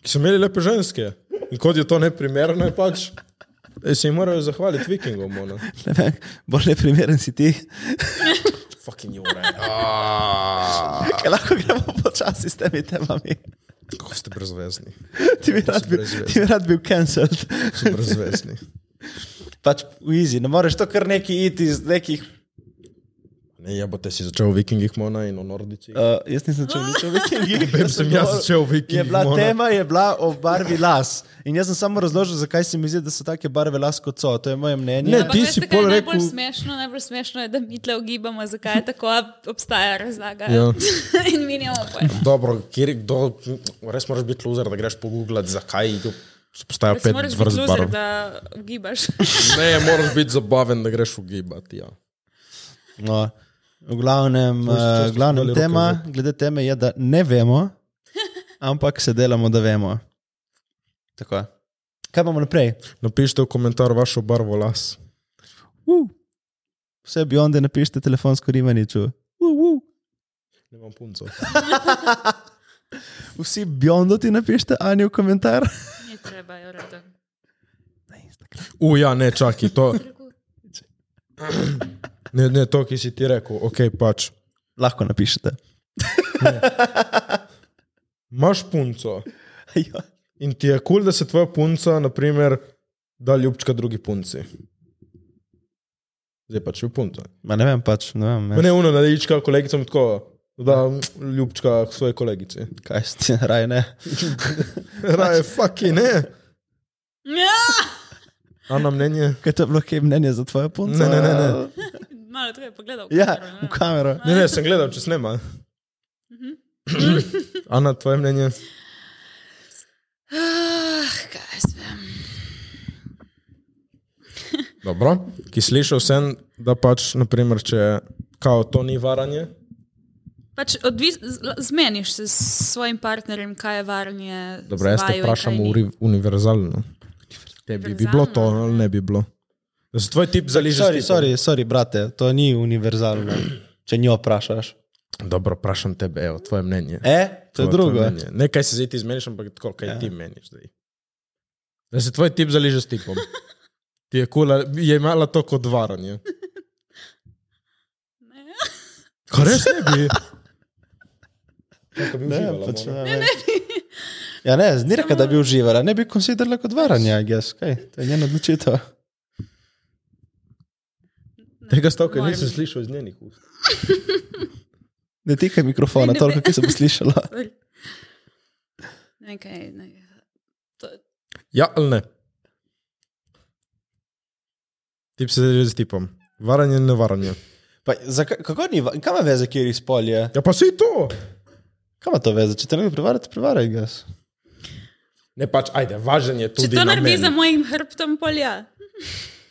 S1: ki so imeli lepe ženske. In kot je to neprimerno, je pač. Ej, se jim morajo zahvaliti vikingom. Ono.
S3: Ne vem, bolj neprimeren si ti.
S1: Fucking ja. jure.
S3: Kaj lahko gremo počasi s temi temami.
S1: Kako ste brezvezni.
S3: Ti bi rad bil,
S1: brezvezno.
S3: ti bi rad bil cancelled.
S1: So brezvezni.
S3: Pač v easy, ne moreš to kar neki iti iz nekih.
S1: Ne, ja, bo te si začel o vikingih mona in o nordicih.
S3: Uh, jaz nisem začel nič o vikingih.
S1: Vem, sem jaz
S3: govoril-
S1: začel o
S3: Je
S1: vikingih.
S3: bila
S1: mona.
S3: tema je bila o barvi las. In jaz sem samo razložil, zakaj se mi zdi, da so take barve las kot so. To je moje mnenje.
S1: Ne,
S4: Ampak
S1: ti si
S4: veste, kaj je
S1: pol
S4: Najbolj
S1: rekel-
S4: smešno, najbolj smešno je, da mi tle ugibamo, zakaj je tako, a obstaja razlaga.
S1: Ja.
S4: In mi nimamo pojma.
S1: Dobro, kjer kdo, res moraš biti loser, da greš pogooglati, zakaj. se postaja Ja,
S4: Res
S1: pet
S4: moraš biti
S1: vrst
S4: loser,
S1: barv.
S4: da gibaš.
S1: Ne, moraš biti zabaven, da greš v gibati. Ja.
S3: No, v glavnem,
S1: To so- to so
S3: uh, glavnem
S1: dali roke v
S3: tema, glede teme je, da ne vemo, ampak se delamo, da vemo. Tako je. Kaj imamo naprej?
S1: Napišite v komentar vašo barvo las.
S3: Uh. Vse bionde napišite telefonsko rimaniču. Uh, uh.
S1: Ne imam punco.
S3: Vsi biondo ti napišite, Ani, v komentar.
S4: Ni treba, je v redu.
S1: U, ja, ne, čakaj, to. Ne, ne, to, ki si ti rekel, ok, pač.
S3: Lahko napišete.
S1: Imaš punco
S3: Ja.
S1: in ti je kul, cool, da se tvoja punca, naprimer, da ljubčka drugi punci. Zdaj pač je punca.
S3: Ma ne vem, pač ne vem.
S1: Ma
S3: Ne.
S1: Ne, uno, da lička kolegicam tako, da ljubčka k svoji kolegici.
S3: Kaj si, raj ne.
S1: Raje, fucking ne.
S4: Ja,
S1: Ana mnenje.
S3: Kaj to je bilo, kaj je mnenje za tvoje punce?
S1: Ne, ne, ne, ne.
S4: malo tako je pogledal. v
S3: Ja,
S4: kamero,
S3: v kamero.
S1: Ne, ne, sem gledal, če snema. Mhm. Ana, tvoje mnenje.
S4: Ah, kaj jaz vem.
S1: Dobro. Ki slišal sem, da pač, naprimer, če kao to ni varanje,
S4: Pač odvis, z- zmeniš se s svojim partnerjem, kaj je varnje.
S1: dobro, jaz te vprašam uri- univerzalno. Tebi bi bilo to ali ne bi bilo. Da se tvoj tip zaliže. s
S3: Sorry,
S1: tipom.
S3: sorry, sorry, brate, to ni univerzalno. Če njo vprašaš.
S1: Dobro, vprašam tebe, evo, tvoje mnenje.
S3: E, to je
S1: Tvoje-
S3: drugo.
S1: tvoje mnenje. Ne, kaj se zdaj ti zmeniš, ampak tako, kaj ja. ti meniš zdaj. Da se tvoj tip zaliže s tipom. Ti je kula, je imela to kot varanje. Kaj res ne bi? Kako bi
S3: Ne,
S1: uživala,
S3: pač
S1: mora.
S3: ne, ne. Ja, ne, ni rekla, da bi uživala, ne bi konsiderala kot varanje, jaz, kaj, to je njena odločitev.
S1: Tega stavka
S4: Moram.
S1: nisem slišal iz njenih ust.
S3: Ne tikaj mikrofona,
S4: Ne, ne,
S3: toliko,
S4: ne.
S3: ki se bo slišala.
S4: Nekaj, nekaj.
S1: Ja ali ne? Tip se zaliže s tipom. Varanje in nevaranje.
S3: Pa, zakaj, kako ni, va- kaj ima veze, kje je spol je?
S1: Ja pa si to!
S3: Kaj ima to veze, če te nekdo prevara, te prevara, jaz.
S1: Ne pač, ajde, važen je
S4: Če
S1: tudi.
S4: to
S1: na
S4: naredi
S1: meni.
S4: za mojim hrbtom, polja.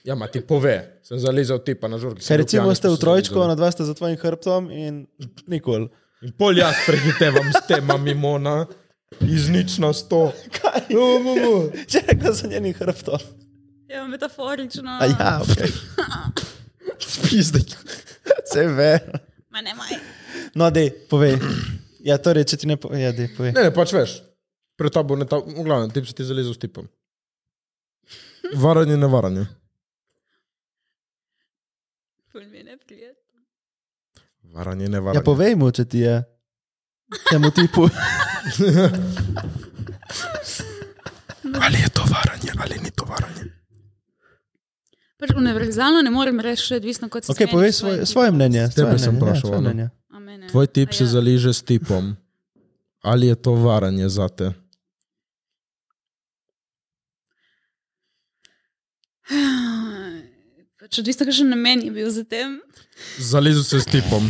S1: Ja, ma ti pove, sem zalizel tipa na žurki. sem
S3: Ker
S1: bil
S3: recimo
S1: pijan,
S3: ste
S1: sem
S3: v
S1: se
S3: trojčku,
S1: zalizel.
S3: na dva ste za tvojim hrbtom in nikoli.
S1: In pol jaz prehitevam s tema mimona, iz nič na sto.
S3: Kaj?
S1: No, no, no.
S3: Če rekla za njenim hrbtom.
S4: Ja, metaforično.
S3: A ja, okay.
S1: Pizde.
S3: se ve.
S4: Ma ne, maj.
S3: No, dej, povej. Ja, torej, če ti ne povej, ja, dej, povej.
S1: Ne, ne, pač veš. Pred tabo ne ta, v glavnem, tip se ti zalezel s tipom. Varanje, nevaranje.
S4: Ful mi je neprijetno.
S1: Varanje, nevaranje.
S3: Ja, povej mu, če ti je. Temu tipu.
S1: Ali je to varanje, ali ni to varanje.
S4: Pač univerzalno ne morem reči, še odvisno kot se
S3: Okay,
S4: zmeniš
S3: povej
S4: s
S3: svoje,
S4: svojim
S3: svoje
S4: tipom.
S3: mnenje.
S1: Tebe
S3: svoje
S1: sem
S3: mnenje, ja,
S1: vprašal, no.
S3: svoje
S1: ono.
S3: mnenje.
S4: A mene?
S1: Tvoj tip
S4: A
S1: se
S4: ja.
S1: zaliže s tipom. Ali je to varanje za te?
S4: Pač odvisno, kakšen namen je bil za tem.
S1: Zalizel se s tipom.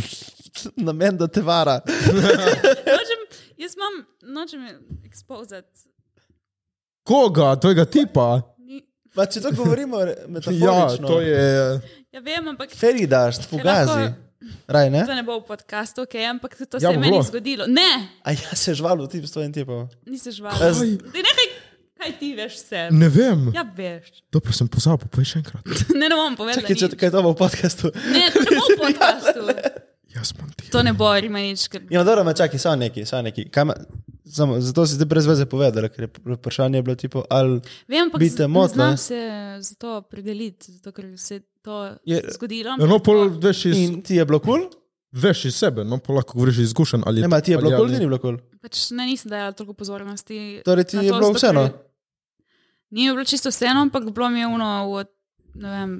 S3: Namen, da te vara.
S4: Nočem, jaz imam, nočem ekspozati.
S1: Koga, tvojega tipa?
S4: Ni,
S3: Pa, če to govorimo re-
S1: Ja,
S3: metaforično.
S1: to je.
S4: ja, vem, ampak
S3: Feridaš, fugazi. Raj,
S4: to
S3: ne?
S4: ne bo v podkastu, okay, ampak to se
S1: Ja,
S4: ja, je
S1: bo
S4: meni
S1: bilo.
S4: zgodilo. Ne,
S3: A ja, se žvalo ti s tvojim tipom.
S4: nisi
S3: Kaj
S4: žval.
S3: z-
S4: Ti nekaj, kaj ti veš vse.
S1: Ne vem.
S4: Ja, veš.
S1: Dobro, sem pozabil, povej še enkrat.
S4: Ne, ne bom povedal.
S3: Čakaj, Ja, če
S4: nič.
S3: kaj to bo v podkastu.
S4: Ne, to ne bo v podkastu.
S1: Jaz sem ti.
S4: To ne bo, Rimanič. ker-
S3: Ja, dobro, ma čakaj, samo neki, samo neki. Kaj ma- Samo, zato si ti brez veze povedal, ker je pr- vprašanje je bilo tipo, ali
S4: Vem, ampak
S3: Bi
S4: z-
S3: te
S4: ne
S3: motila?
S4: znam se za to opredeliti, zato ker se je to
S3: Je-
S4: zgodilo. ampak
S1: No, pol
S4: to-
S1: veš iz,
S3: in ti je bilo kul, cool?
S1: veš iz sebe, no, pol lahko greš izkušen. Ali
S3: ne, ma ti je
S1: ali-
S3: bilo kul, cool,
S1: ali-
S3: ti ni bilo kul. Cool.
S4: Pač ne, nisem dajala toliko pozornosti.
S3: Torej ti
S4: na
S3: je
S4: to,
S3: bilo
S4: zato,
S3: vseeno?
S4: ker- Ni mi bilo čisto vseeno, ampak bilo mi je uno, v, ne vem,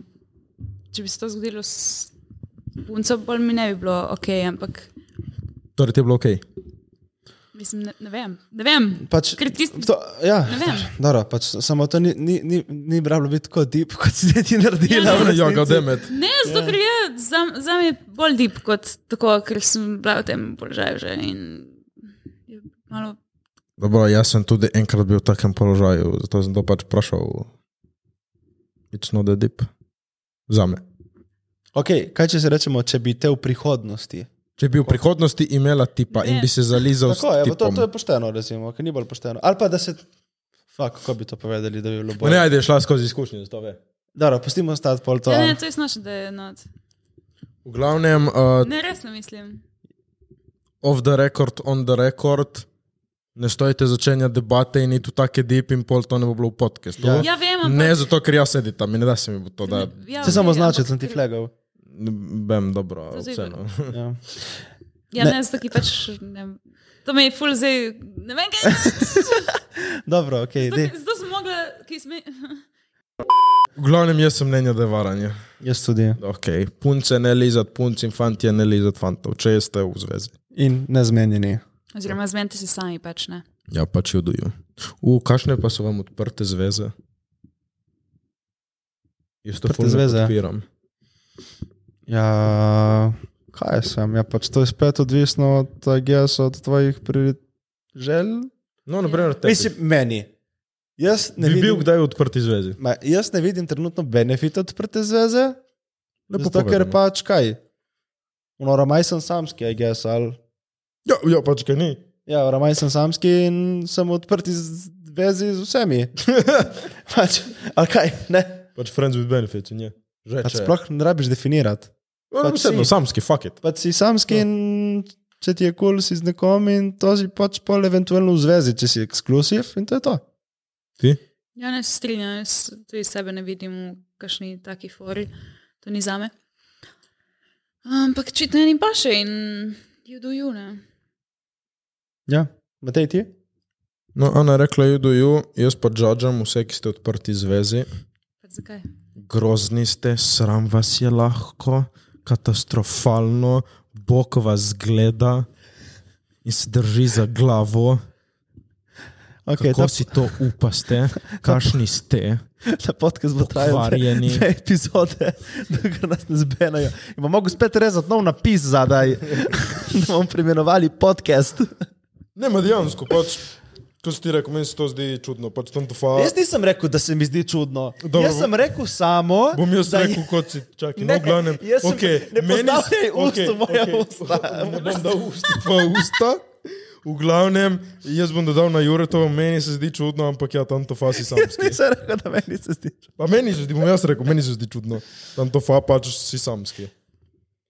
S4: če bi se to zgodilo s punco, bolj mi ne bi bilo ok, ampak
S1: Torej, ti je bilo ok.
S4: mislim, ne, ne vem. Ne vem.
S3: Pač,
S4: Ker tisti-
S3: to, ja,
S4: Ne vem.
S3: dobro, pač, samo to ni, ni, ni, ni bilo biti tako deep, kot si zdaj ti naredila.
S4: Ja,
S3: v
S1: Ja, ga
S3: resnici.
S1: demet.
S4: Ne,
S3: Ja.
S4: zato ker je za, za me bolj deep kot tako, ker sem bila v tem položaju že in je malo
S1: Dobro, jaz sem tudi enkrat bil v takem položaju, zato sem to pač vprašal. It's not a dip. Za me. Ja.
S3: Okay, kaj če se rečemo, če bi te v prihodnosti?
S1: Če bi v prihodnosti imela tipa ne. in bi se zalizal s
S3: Tako je, pa to,
S1: tipom.
S3: to je pošteno, recimo, ker ni bolj pošteno. Ali pa da se. Fak, kako bi to povedali, da bi bilo
S1: Ma
S3: bolje?
S1: Ne, ja. ajde, je šla skozi izkušnje, zato ve.
S3: Dobro, pustimo stati pol to.
S4: Ja, ne, to je snaš, da je not.
S1: V glavnem, uh,
S4: Ne, resno mislim.
S1: off the record, on the record, ne stojite začenjati debate in iti v take deep in pol to ne bo bilo v podkastu.
S3: Ja.
S4: Ja, vem, ampak...
S1: Ne zato, ker jaz sedim tam in ne da se mi bo to, da
S4: ja,
S3: Se
S4: okej,
S3: samo
S4: ampak-
S3: značil, sem ti flegal.
S1: bem dobro
S4: To zdaj
S1: oceno.
S3: Ja.
S4: Ja, ne, zato ki pač... Ne, to me je ful zdaj... Ne vem, kaj...
S3: Dobro, ok,
S4: zato-
S3: di.
S4: Zato sem mogla... Kaj sme...
S1: V glavnem, jaz sem mnenja, da je varanje.
S3: Jaz tudi.
S1: Okay. Punce ne lizat, punci in fanti ne lizat fantov, če ste v zvezi.
S3: In nezmenjeni.
S4: Oziroma, zmenite se sami, pač ne.
S1: Ja, pač jo duju. U, kakšne pa so vam odprte zveze? Jaz to
S3: Odprte
S1: ful ne
S3: zveze?
S1: podpiram.
S3: Ja, kaj sem, ja pač to je spet odvisno od, I guess, od tvojih prioritet. Želj?
S1: No, naprimer, tebi.
S3: Mislim, meni. Jaz ne,
S1: bi bil
S3: vidim,
S1: kdaj v odprti zvezi.
S3: ma, jaz ne vidim trenutno benefita od prte zveze,
S1: Lepo
S3: zato ker
S1: povedano.
S3: pač kaj. No, ramaj sem samski, I guess, ali.
S1: Ja, ja pač ga ni.
S3: Ja, ramaj sem samski in sem odprti z- zvezi z vsemi. pač, ali kaj, ne.
S1: Pač friends with benefits, in je. Že
S3: Pač
S1: če.
S3: sploh ne rabiš definirati.
S1: Ja,
S3: pač
S1: vseeno,
S3: si.
S1: samski, fuck it.
S3: Pač si samski
S1: Ja.
S3: in če ti je kul, cool, si z nekom in to si pač pol eventualno v zvezi, če si ekskluziv in to je to.
S1: Ti?
S4: Ja, ne se strinjam, jaz tudi sebe ne vidim v kakšni taki fori, to ni zame. Ampak očitno enim pa še in you do you, ne.
S3: Ja. Matej, ti?
S1: No, Ana je rekla, you do you, jaz pa džadžam vse, ki ste v odprti zvezi.
S4: Pač zakaj?
S1: Grozni ste, sram vas je lahko, katastrofalno, bog vas gleda in se drži za glavo.
S3: Okay,
S1: Kako
S3: ta,
S1: si to upaste, kakšni ste?
S3: ta podcast bo trajal dve,
S1: Pokvarjeni.
S3: dve epizode, dokler nas ne zbenajo. In bomo mogli spet rezati nov napis zadaj, da bomo preimenovali podcast.
S1: Ne, ma dejansko pač. Kot si ti rekel, meni se to zdi čudno, pač tam to fa.
S3: Jaz nisem rekel, da se mi zdi čudno.
S1: Dobro,
S3: Dobro. Jaz sem rekel samo,
S1: Bom jaz
S3: da je-
S1: rekel, kot si čakal, no,
S3: Ne,
S1: v glavnem.
S3: jaz sem-
S1: okej,
S3: ne
S1: meni s-
S3: postavljaj ust v
S1: okej,
S3: moja
S1: okej,
S3: usta.
S1: Ne bom dal ust v tvoja usta. V glavnem, jaz bom dodal na Juretovo, meni se zdi čudno, ampak ja, tam to fa si samski.
S3: Nisem rekel, da meni se zdi. čudno.
S1: Pa meni se zdi, bom jaz rekel, meni se zdi čudno, tam to fa pač si samski.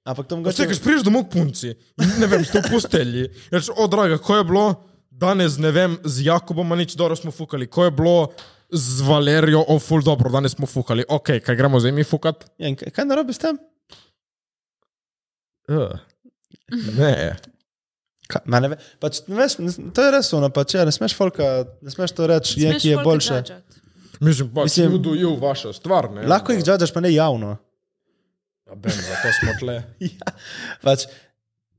S3: Ampak to
S1: Vse,
S3: mogoče.
S1: ki priješ domov k punci, in, ne vem, ste v postelji. Reč, o, draga, ko je bilo danes, ne vem, z Jakobom a nič dobro smo fukali, ko je bilo z Valerijo, o, ful dobro, danes smo fukali, ok, kaj gremo zdaj mi fukat?
S3: Ja, in kaj kaj narobe s tem?
S1: Uh, ne.
S3: Ka- ma Ne ve, pač, ne veš, ne- to je res ono, pač, ja, ne smeš, folka, ne smeš to reči, je,
S4: Smeš
S3: ki je
S4: folka
S3: boljše.
S4: dražati.
S1: Mislim, pa si
S3: Mislim-
S1: judo je vaša stvar, ne?
S3: Lahko jih džadaš, pa ne javno.
S1: Abem, zato smo tle.
S3: Ja, pač,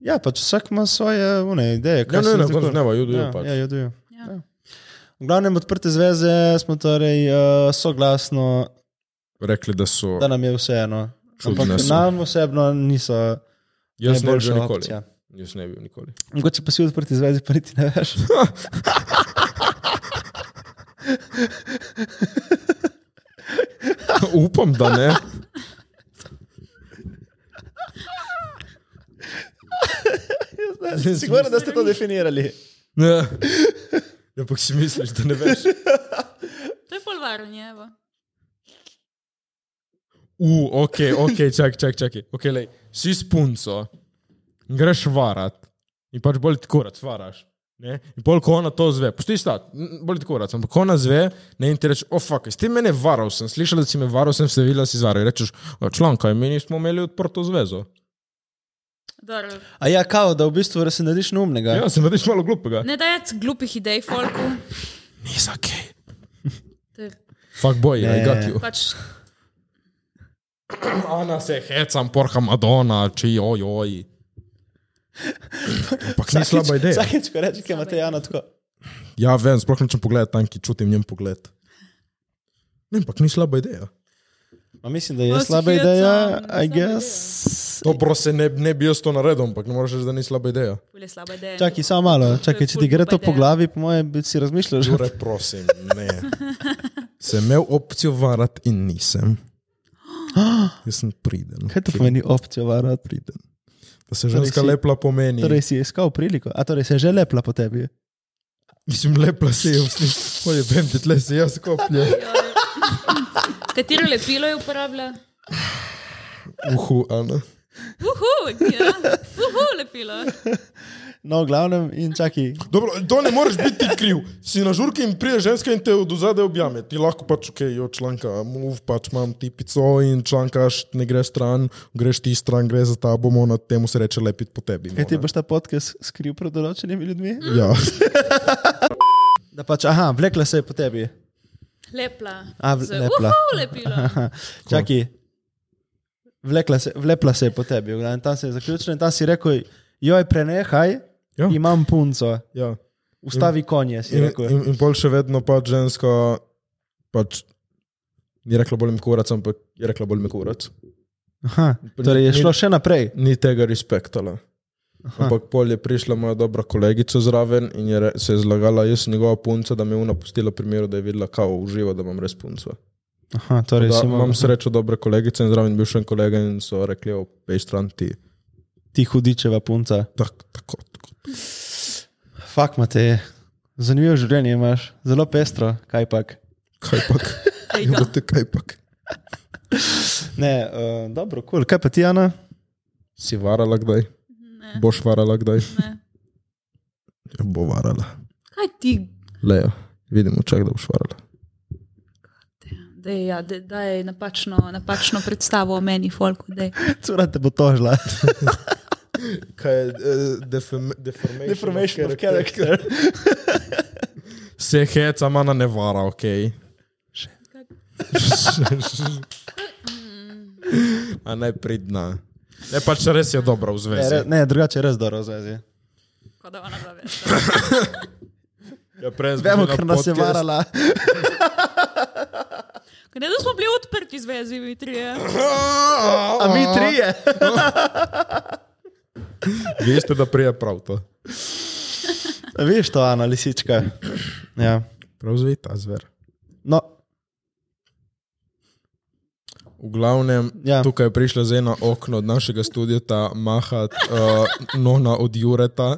S3: ja, pač vsak ima svoje une, ideje.
S1: Ja,
S3: kaj se
S1: ne,
S3: mi
S1: ne,
S3: zdi
S1: konc
S3: kul.
S1: dneva judo je
S3: Ja,
S1: pač.
S3: ja, judujo.
S4: Ja.
S3: Ja. V glavnem odprte zveze smo torej uh, soglasno,
S1: Rekli, da so.
S3: da nam je vseeno.
S1: Čudne
S3: Ampak
S1: so.
S3: nam osebno niso
S1: Jaz ne bi
S3: najboljša
S1: bil nikoli.
S3: opcija.
S1: Jaz ne bi bil nikoli.
S3: Mogoče pa si v odprti zvezi, pa niti ne veš.
S1: Upam, da ne.
S3: Sigurno, da ste to definirali.
S1: Ne. Ja, ampak si misliš, da ne veš.
S4: To je polvaranje, evo.
S1: U, ok, ok, čak, čak, čak. Okay, lej, si s punco, in greš varat in pač bolj ti kurat varaš. Ne? In pol, ko ona to zve, pusti stat, n- bolj ti kurat, ampak ko ona zve, ne in ti reče, ofak, oh, si ti mene varal, sem slišal, da si me varal, sem se videl, da si zvaral. In Rečeš, "O, članka, mi nismo imeli odprto zvezo.
S4: Dobro.
S3: A ja, kao, da v bistvu res narediš neumnega.
S1: Ja, sem vidiš malo glupega.
S4: Ne dajati glupih idej folku.
S1: Ni za kaj.
S4: To je
S1: Fak boj,
S3: Ne.
S1: I got you.
S4: pač...
S1: Ana se hecam, porha Madonna, či ojoj. Ampak ni slaba ideja.
S3: Vsakeč, ko rečeš, kaj imate Jana tako.
S1: Ja, vem, sploh nočem pogledati tam, ki čutim njen pogled. Ne, ampak ni slaba ideja.
S3: Ma mislim, da je
S4: Malo si
S3: slaba
S4: hecam,
S3: ideja,
S4: slaba
S3: I
S4: ideja.
S3: guess.
S1: Dobro se ne, ne bi jaz to naredil, ampak ne moreš reči, da ni slaba ideja.
S4: Ful je slaba ideja.
S3: Čakaj, samo malo, čakaj, če ti gre to po glavi, po mojem, bi si razmišljal že.
S1: Jure, prosim, ne. Sem imel opcijo varati in nisem. Jaz sem priden.
S3: Kaj to pomeni opcijo varati?
S1: Priden. Da se
S3: Torej
S1: ženska
S3: si-
S1: lepla pomeni.
S3: Torej si iskal priliko, a torej se je že lepla po tebi.
S1: Mislim, lepla se je, hoje vem, ti tle se jaz kopljem.
S4: Katero lepilo je uporabljala?
S1: Uhu, Ana.
S4: Uhu, ja. Uhu, lepilo.
S3: No, v glavnem, in čakaj,
S1: Dobro, to ne moreš biti ti kriv. Si na žurki in prije ženska in te od zadaj objame. Ti lahko pač, ok, jo članka, mov, pač imam tipico in člankaš, ne greš stran, greš ti stran, gre za ta, bomo na temu se reče lepiti po tebi.
S3: kaj E, ti
S1: mona.
S3: boš ta podcast skril pred določenimi ljudmi?
S1: Ja.
S3: Da pač, aha, vlekla se je po tebi.
S4: Lepla.
S3: A, v-
S4: Z
S3: lepla.
S4: Uhu, lepilo.
S3: Aha, čakaj, vlekla se, vlepla se je po tebi, v glavnem, tam se je zaključila in tam si rekel, joj, prenehaj,
S1: Ja.
S3: imam punco,
S1: ja.
S3: ustavi konje, si
S1: In,
S3: rekel. ja.
S1: in, in pol še vedno pač ženska, pač ni rekla bolj mi kurac, ampak je rekla bolj mi kurac.
S3: Aha, torej je šlo še naprej.
S1: ni tega respektala. Ampak pol je prišla moja dobra kolegica zraven in je re- se je zlagala, jaz sem njegova punca, da me je ona pustila primeru, da je videla, kako uživa, da imam res punco.
S3: Aha, torej
S1: Da,
S3: si imam
S1: imam srečo dobre kolegice in zraven bil še en kolega in so rekli, opej stran ti.
S3: ti hudičeva punca.
S1: Tak, tako, tako.
S3: Fak, Matej, zanimivo življenje imaš, zelo pestro, kaj pak.
S1: Kaj pak? Jugo te kaj pak?
S3: Ne, uh, dobro, kul, cool. kaj pa ti, Ana?
S1: Si varala kdaj? Ne. Boš varala kdaj?
S4: Ne.
S1: Ja, Bo varala.
S4: Kaj ti?
S1: Lejo, vidimo, čak, da boš varala.
S4: Dej, ja, dej, daj napačno, napačno predstavo o meni, Folku. daj.
S3: Cura te bo tožila.
S1: Kaj je uh, deformation?
S3: character.
S1: Se heca, mana ne vara, okej. Okay. A ne pridna. Ne pač res je dobro v
S3: Ne,
S1: zvezi.
S3: re, ne, drugače je res dobro, zdaj.
S4: Kot da ona dva ve.
S1: Ja, prej smo
S3: Vemo,
S1: bili na
S3: ker nas je
S1: podcast-
S3: varala.
S4: Kaj Ne, da smo bili odprti zvezi, mi trije.
S3: A mi trije.
S1: Veste, da prije prav to.
S3: A Veš to, Ana, lisička. Ja.
S1: Prav zvita zver.
S3: No,
S1: V glavnem,
S3: Ja.
S1: ja. tukaj je prišla zdaj na okno od našega studia ta mahat uh, nona od Jureta.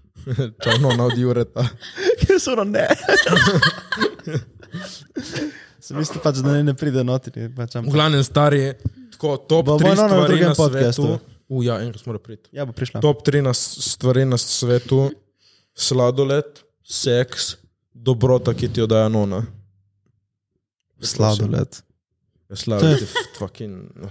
S1: Čau, nona od Jureta.
S3: kje so ono ne? Sem mislil pač, da ne, ne pride notri. Pač,
S1: V
S3: ampak-
S1: glavnem, stari, tako top
S3: Bomo
S1: 3
S3: nona v
S1: stvari
S3: drugem
S1: na svetu.
S3: podcastu.
S1: Uja, enkrat mora priti.
S3: ja, bo prišla.
S1: Top 3 na s- stvari na svetu: sladoled, seks, dobrota, ki ti jo daje nona.
S3: Sladoled.
S1: Ja, Sladoled je f- fucking. no.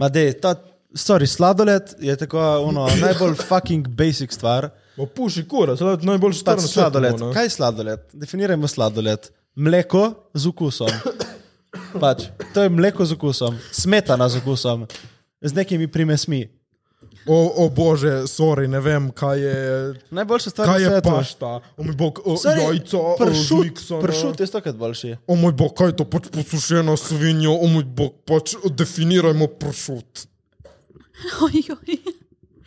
S3: Ma, dej, ta, sorry, sladoled je tako ono, najbolj fucking basic stvar.
S1: Opuši kura, sladoled je najbolj star
S3: Pač
S1: na
S3: sladoled.
S1: svetu.
S3: Kaj je sladoled? Definirajmo sladoled. Mleko z okusom. Pač, to je mleko z okusom, smetana z okusom, z nekimi primesmi.
S1: O, o bože, sorry, ne vem, kaj je,
S3: Najboljša stvar
S1: kaj
S3: na
S1: je
S3: svetu.
S1: pašta. O moj bog, o,
S3: Sorry,
S1: jajco, no. o, z
S3: pršut,
S1: Nixona.
S3: pršut je stokrat boljši.
S1: O moj bog, kaj je to pač posušena svinja, o moj bog, pač definirajmo pršut.
S4: Ojoj.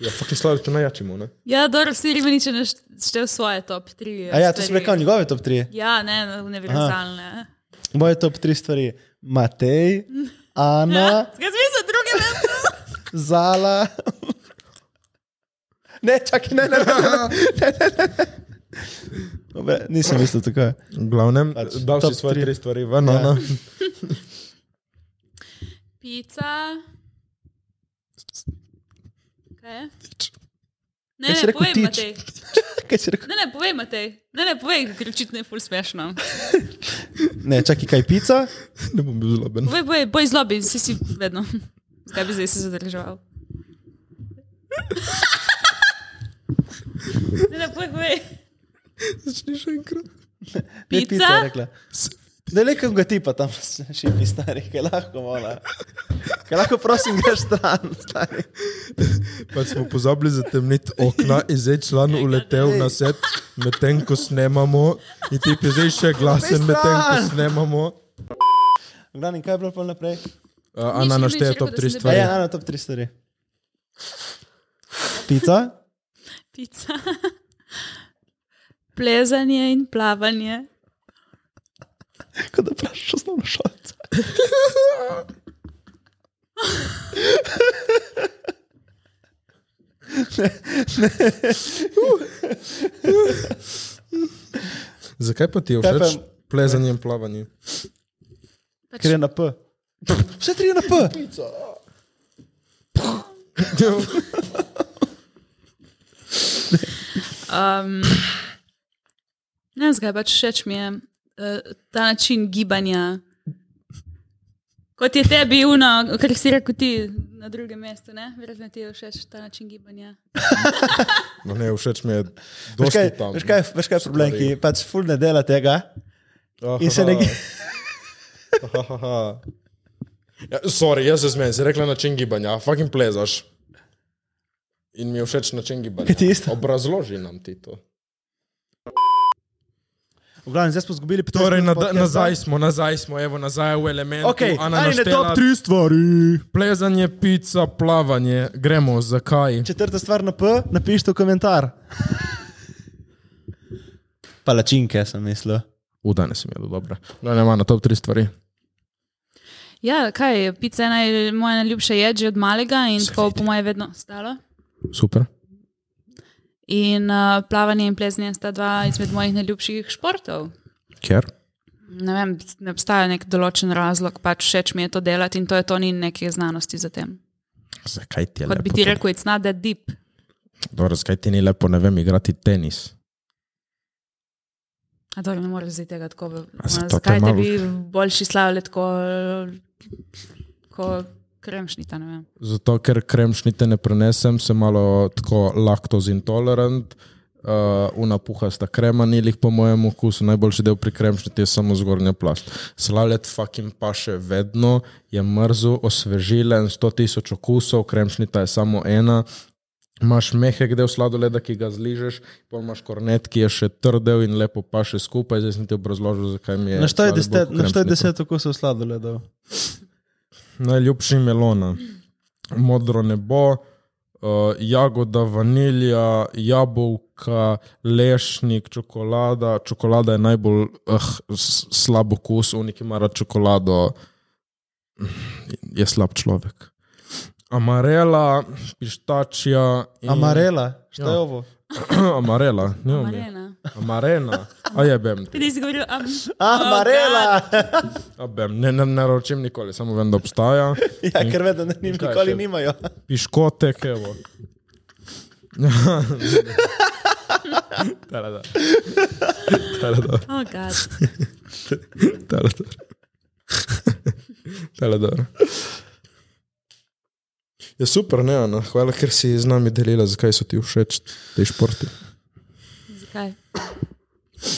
S1: Ja, fucking sladoled je najjačimo, ne?
S4: Ja, dobro, Siri mi niče naštel svoje top 3.
S3: A ja, to sem rekel, njegove top 3.
S4: Ja, ne, univerzalne.
S3: Moje top 3 stvari. Matej, Ana,
S4: Kaj smisel druge mesto?
S3: Zala. Ne, čakaj, ne, ne, ne, ne, ne, ne. Dobre, nisem mislil tako.
S1: V glavnem,
S3: Pač,
S1: pač, dal si
S3: top
S1: svoje
S3: tri.
S1: tri stvari ven,
S3: Ja.
S1: ja.
S4: Pica. Kaj? je? Ne,
S3: Kaj si
S4: ne,
S3: rekel,
S4: povej,
S3: tič?
S4: Matej.
S3: Kaj si rekel?
S4: Ne, ne, povej, Matej. Ne, ne, povej, ker očitno je ful smešno.
S3: Ne, čakaj, kaj pica?
S1: ne bom bil zloben.
S4: Povej, povej, boj zlobi, si si vedno. Zdaj bi zdaj se zadržal. Ne, ne, povej, povej.
S1: Začni še enkrat.
S3: Ne,
S4: Pica?
S3: je rekla. Ne, le kam ga tipa tam šipi stari, kaj lahko mola. Kaj lahko prosim greš stran, stari.
S1: Pač smo pozabili zatemniti okna in zdaj član uletel na set, medtem ko snemamo. In ti je zdaj še glasen, medtem ko snemamo.
S3: Glavni, kaj je bilo pol naprej?
S1: Uh,
S4: Nič
S1: Ana
S4: ni
S1: našteje
S4: nič,
S1: top
S4: rekel, da
S1: 3
S4: sem debela.
S3: Pa
S1: stvari.
S3: je na top 3 stvari. Pica,
S4: Pica. Plezanje in plavanje.
S3: kot da vprašaš osnovno šolce.
S1: Zakaj pa ti je
S3: Kaj pa-
S1: všeč plezanje in plavanje?
S3: Ker je na P. Vse tri je na P.
S4: Um, ne vem, zakaj pač všeč mi je uh, ta način gibanja. Kot je tebi, uno, kar si rekel ti na drugem mestu, ne? verjetno ti je všeč ta način gibanja.
S1: No, ne, všeč mi je, da
S3: Veš kaj,
S1: je tam.
S3: veš kaj, veš kaj je problem, ki pač ful ne dela tega
S1: Ah,
S3: in se ne gi-
S1: Ahaha. Ja, sorry, jaz se zmenim, si rekla način gibanja, a fucking plezaš. In mi je všeč način gibanja.
S3: Kaj ti isto?
S1: Obrazloži nam ti to.
S3: V glavnem, zdaj smo izgubili 15
S1: Torej,
S3: minut
S1: nada,
S3: podcasta.
S1: nazaj smo, nazaj smo, evo, nazaj v element.
S3: Ok, ali ne top 3 stvari.
S1: Plezanje, pica, plavanje, gremo, zakaj?
S3: Četrta stvar na P, napišite v komentar. Palačinke sem mislil.
S1: U, danes sem jedel dobro. No, ne, na top 3 stvari.
S4: Ja, kaj, pica je naj, moja najljubša jed že od malega in tako po moje vedno stalo.
S1: Super.
S4: In uh, plavanje in plezanje sta dva izmed mojih najljubših športov.
S1: Ker?
S4: Ne vem, ne obstaja nek določen razlog, pač všeč mi je to delati in to je to, ni neke znanosti za tem.
S1: Zakaj ti je
S4: Kot bi ti rekel, it's not that deep.
S1: Dobro, zakaj ti ni lepo, ne vem, igrati tenis?
S4: A dobro, ne moreš zdaj tega tako. v-
S1: A zato
S4: ono,
S1: te
S4: Zakaj
S1: malo-
S4: te bi boljši slavili tako, ko kremšnita, ne vem.
S1: Zato, ker kremšnite ne prenesem, sem malo tako laktoz intolerant. Uh, unapuha sta krema, ni lih po mojem okusu. Najboljši del pri kremšniti je samo zgornja plast. Slavljet fucking paše vedno, je mrzl, osvežilen, 100 tisoč okusov, kremšnita je samo ena. Imaš mehek del sladoleda, ki ga zližeš, pa imaš kornet, ki je še trdel in lepo paše skupaj. Zdaj sem ti obrazložil, zakaj mi je.
S3: Naštoj
S1: sladoled
S3: deset,
S1: bolj kot
S3: naštoj
S1: kremšnita.
S3: deset okusov sladoledov.
S1: Najljubši melona, modro nebo, uh, jagoda, vanilja, jabolka, lešnik, čokolada. Čokolada je najbolj uh, slab okus, v neki mara čokolado, je slab človek. Amarela, pištačija. In...
S3: Amarela, šta je
S1: Ja.
S3: ovo?
S1: Amarela, No, ne vem.
S4: Marena.
S1: Amarena, a je bem. ti.
S4: Ti si govoril, am,
S3: Amarela!
S1: A bem. Ne, ne naročim nikoli, samo vem, da obstaja.
S3: Ja, ker vedno njim
S1: Kaj
S3: nikoli
S1: še?
S3: nimajo.
S1: piškotek, evo. Tarada. Tarada.
S4: oh, God.
S1: Tarada. Tarada. Je Ja, super, ne, Ana. Hvala, ker si z nami delila, zakaj so ti všeč te športi.
S4: Zakaj?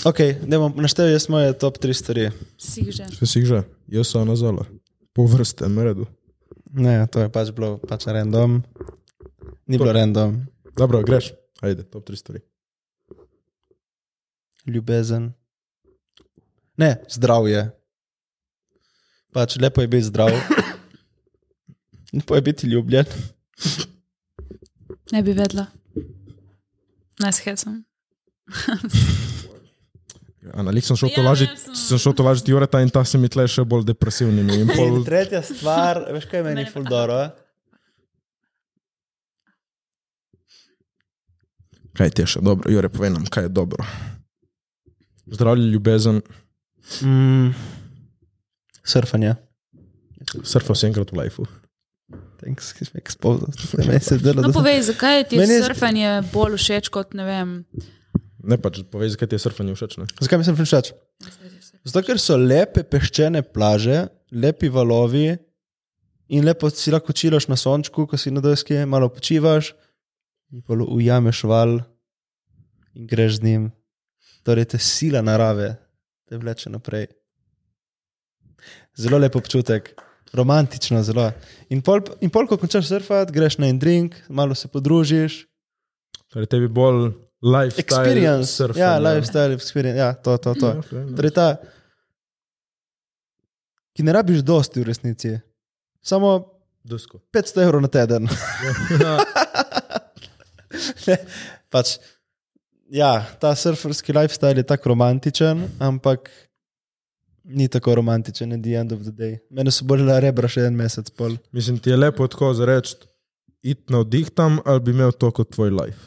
S3: Ok, ne bom naštel jaz moje top 3 stvari.
S4: Si jih že.
S1: Če si jih že, jaz sem nazala. Po vrstem redu.
S3: Ne, to je pač bilo pač random. Ni bilo random.
S1: Dobro, greš. Ajde, top 3 stvari.
S3: Ljubezen. Ne, zdravje. Pač lepo je biti zdrav. Lepo je biti ljubljen.
S4: Ne bi vedela. Naj se
S1: No,
S4: hecam.
S1: Ana, lik sem šel to
S4: Ja,
S1: lažiti,
S4: jaz
S1: sem
S4: sem-
S1: šel to lažiti Jureta in ta se mi tle še bolj depresivnimi. In pol
S3: In tretja stvar, veš kaj meni
S4: Mene pa-
S3: fuldoro?
S1: Kaj ti je še dobro? Jure, povej nam, kaj je dobro. Zdravje, ljubezen,
S3: Mm. Surfanje.
S1: surfa si enkrat v lifeu.
S3: Thanks, ki si me expozil. Meni se delo, da
S4: No,
S3: sem-
S4: povej, zakaj ti je
S3: Meni je-
S4: surfanje bolj všeč kot ne vem.
S1: Ne pač, povej, zakaj ti je surfanje všeč. Ne?
S3: Zakaj mi sem všeč? Zato, ker so lepe peščene plaže, lepi valovi in lepo si lahko čilaš na sončku, ko si na deski, malo počivaš, in pa ujameš val in greš z njim. Torej, te sila narave te vleče naprej. Zelo lep občutek, romantično zelo. In pol, in pol ko končaš surfati, greš na en drink, malo se podružiš.
S1: Torej, tebi bolj lifestyle.
S3: Experience,
S1: surfanje.
S3: ja, lifestyle, experience, ja, to, to, to.
S1: Okay, no.
S3: Torej, ta, ki ne rabiš dosti v resnici, Samo
S1: Desko.
S3: 500 evrov na teden.
S1: Ja.
S3: Ne, pač, ja, ta surferski lifestyle je tako romantičen, ampak ni tako romantičen, at the end of the day. Mene so bolele rebra še en mesec pol.
S1: Mislim, ti je lepo tako zareči, it na vdih tam ali bi imel to kot tvoj life.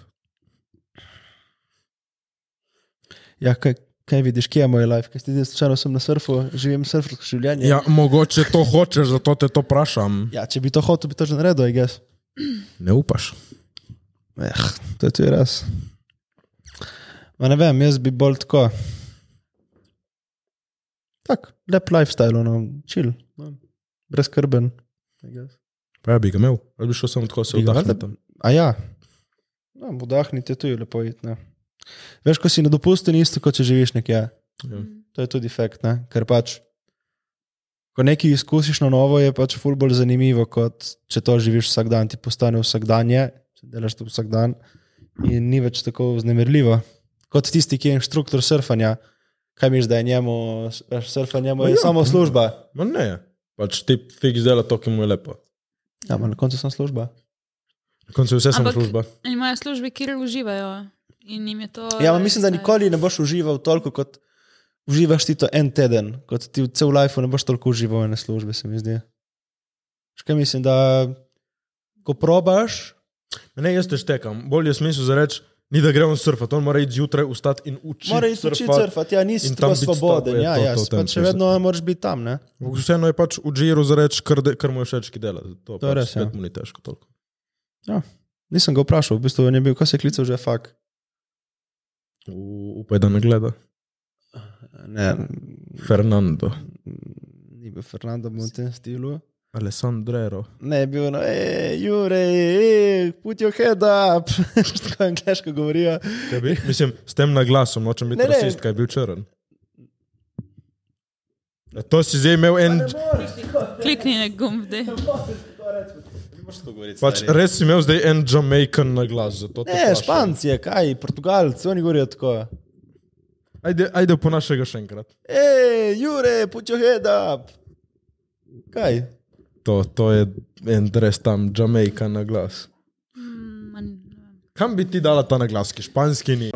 S3: Ja, kaj, kaj vidiš, kje je moj life? Kaj ti zdaj, slučajno sem na surfu, živim surfersko življenje.
S1: Ja, mogoče to hočeš, zato te to vprašam.
S3: ja, če bi to hotel, bi to že naredil, I guess.
S1: Ne upaš.
S3: Eh, to je tudi res. Ma ne vem, jaz bi bolj tako. Tak, lep lifestyle, no, čil, no, brezkrben. I guess.
S1: Pa ja, bi ga imel, ali bi šel samo tako se
S3: Bi ga
S1: vdahati
S3: valjda-
S1: tam.
S3: A ja, no, vdahnite tudi lepo. It, ne. Veš, ko si na dopustu, ni isto, kot če živiš nekje.
S1: Ja.
S3: To je tudi fakt, ne? ker pač, ko nekaj izkusiš na novo, je pač ful bolj zanimivo, kot če to živiš vsak dan, ti postane vsakdanje, če delaš to vsak dan, in ni več tako vznemirljivo. Kot tisti, ki je inštruktor surfanja, kaj misliš, da je njemu, veš, surfanje njemu
S1: Ma
S3: je
S1: ja,
S3: samo
S1: pa ne.
S3: služba.
S1: Ma ne, pač ti fiks dela to, ki mu je lepo.
S3: Ja, ma na koncu sem služba.
S1: Na koncu je vse samo
S4: Ampak-
S1: služba.
S4: In imajo službe, kjer uživajo. In jim je to.
S3: Ja, ma mislim, da
S4: lifestyle.
S3: nikoli ne boš užival toliko, kot uživaš ti to en teden, kot ti v cel life ne boš toliko užival ene službe, se mi zdi. Škaj mislim, da ko probaš,
S1: Ne, jaz te štekam. Bolje je smisel za reči, ni da gremo surfati, on mora iti zjutraj vstati in učiti.
S3: mora iti učiti surfati, ja,
S1: in
S3: nisi
S1: tam
S3: tako
S1: biti
S3: svoboden,
S1: tako, je
S3: ja,
S1: to-
S3: ja,
S1: to
S3: si
S1: tam
S3: pač še
S1: pesem.
S3: vedno moraš biti tam, ne?
S1: Vseeno je pač v džiru za reči, kar, de- kar mu je všeč, ki dela. To, to
S3: To je
S1: pač,
S3: res,
S1: res,
S3: ja.
S1: ja. mu ni težko toliko.
S3: Nisem ga vprašal, v bistvu on je bil, ko se je klical že fak.
S1: U- Upaj, da ne gleda.
S3: Ne,
S1: Fernando.
S3: ni bil Fernando v tem stilu.
S1: Alessandro.
S3: Ne, je bil, no, "Ej, Jurej, put your head up, tako angliško govorijo.
S1: Mislim, s tem naglasom, nočem biti
S3: Ne, ne.
S1: rasist, kaj je bil črn. Ja, To si zdaj imel en,
S4: Klikni na gumb, da je
S1: pač res si imel zdaj en Jamaican na glas. zato te
S3: Ne,
S1: vprašam.
S3: Španci, je, kaj, Portugalci, oni govorijo tako.
S1: Ajde, ajde po našega še enkrat.
S3: Ej, Jure, put your head up. Kaj?
S1: To, to je en res tam Jamaican na glas. Kam bi ti dala ta na glas, ki španski ni?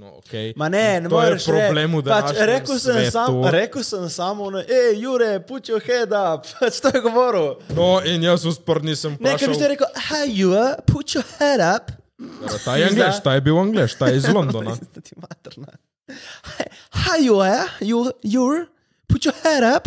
S1: No, okay.
S3: Ma ne, ne
S1: To je
S3: moreš
S1: problem v
S3: pač,
S1: današnjem
S3: rekel, sem
S1: svetu.
S3: sam, rekel sem samo, ono, ej, Jure, put your head up. Pač to je govoril.
S1: no, in jaz uspor nisem
S3: Ne, ker
S1: prišel.
S3: bi ti rekel, hej, Jure, put your head up.
S1: "Torej, Ta je angliš, ta je bil angliš, ta je iz Londona.
S3: Da ti materna. Hej, Jure, Jure, Jure, put your head up.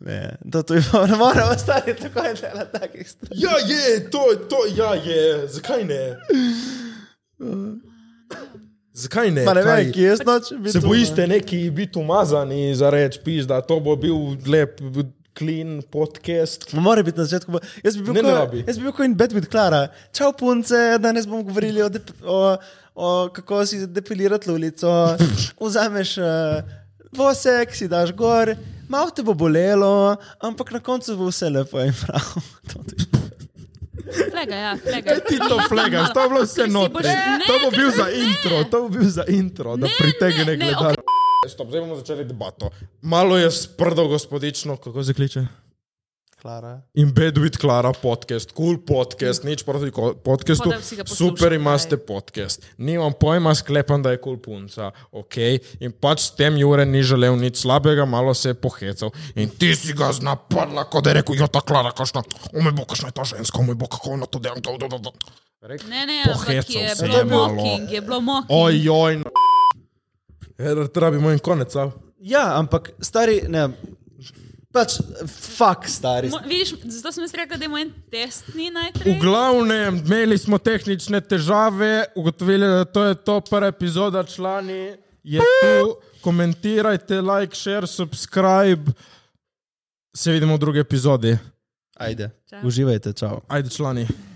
S3: Ne, da to je bilo, ne moremo ostati tako in delati takih stvari.
S1: Ja, je, to je, to ja, je, zakaj ne? Zakaj ne?
S3: Ma ne
S1: Kaj-
S3: vem, kje jaz nočem biti.
S1: Pač Se
S3: tu,
S1: bojiš
S3: ne.
S1: te neki biti umazani za reč, piš, da to bo bil lep, clean podcast.
S3: Ma Mora biti na začetku. bo- Jaz bi bil,
S1: Ne, ne
S3: ko,
S1: rabi.
S3: jaz bi bil kot in bed with Klara. Čau, punce, danes bomo govorili o, dep, o, o kako si depilirati ulico. Vzameš uh, vosek, si daš gor, malo te bo bolelo, ampak na koncu bo vse lepo in prav. To ti-
S4: flega, ja, flega.
S1: Ti to flegaš, to je bilo vse
S4: Ker si
S1: notri.
S4: boš- Ne,
S1: To bo bil
S4: ker
S1: za
S4: ne.
S1: intro, to bo bil za intro, da
S4: Ne, ne,
S1: pritegne
S4: ne,
S1: gledalce. Stop, zdaj bomo začeli debato. Malo je sprdo gospodično, kako se kliče.
S3: Klara.
S1: In bed with Klara podcast, cool podcast, nič proti ko- podcastu.
S4: Hodam si ga poslušat,
S1: Super
S4: kaj.
S1: imate podcast. Nimam pojma, sklepam, da je kul cool punca. Okay. In pač s tem Jure ni želel nič slabega, malo se je pohecal. In ti si ga znapadla, kot da je rekel, jo ta Klara, kašna, ome bo, kašna je ta ženska, ome bo, kako ona to dela. do, do, do, do." Rekel,
S4: Ne, ne, ampak
S1: Pohecal
S4: je
S1: se
S4: bilo
S1: je malo.
S4: mocking, je bilo mocking.
S1: Ojoj, n- Er, Rabimo en konec, a?
S3: Ja, ampak stari, ne. Pač, fuk, stari.
S4: Mo- Vidiš, zato sem jaz rekel, da je moj testni
S1: V
S4: najtrej.
S1: glavnem, imeli smo tehnične težave, ugotovili, da to je to prva epizoda, člani je tu. Komentirajte, like, share, subscribe. Se vidimo v drugi epizodi.
S3: Ajde.
S4: Čau.
S3: Uživajte, čau.
S1: Ajde, člani.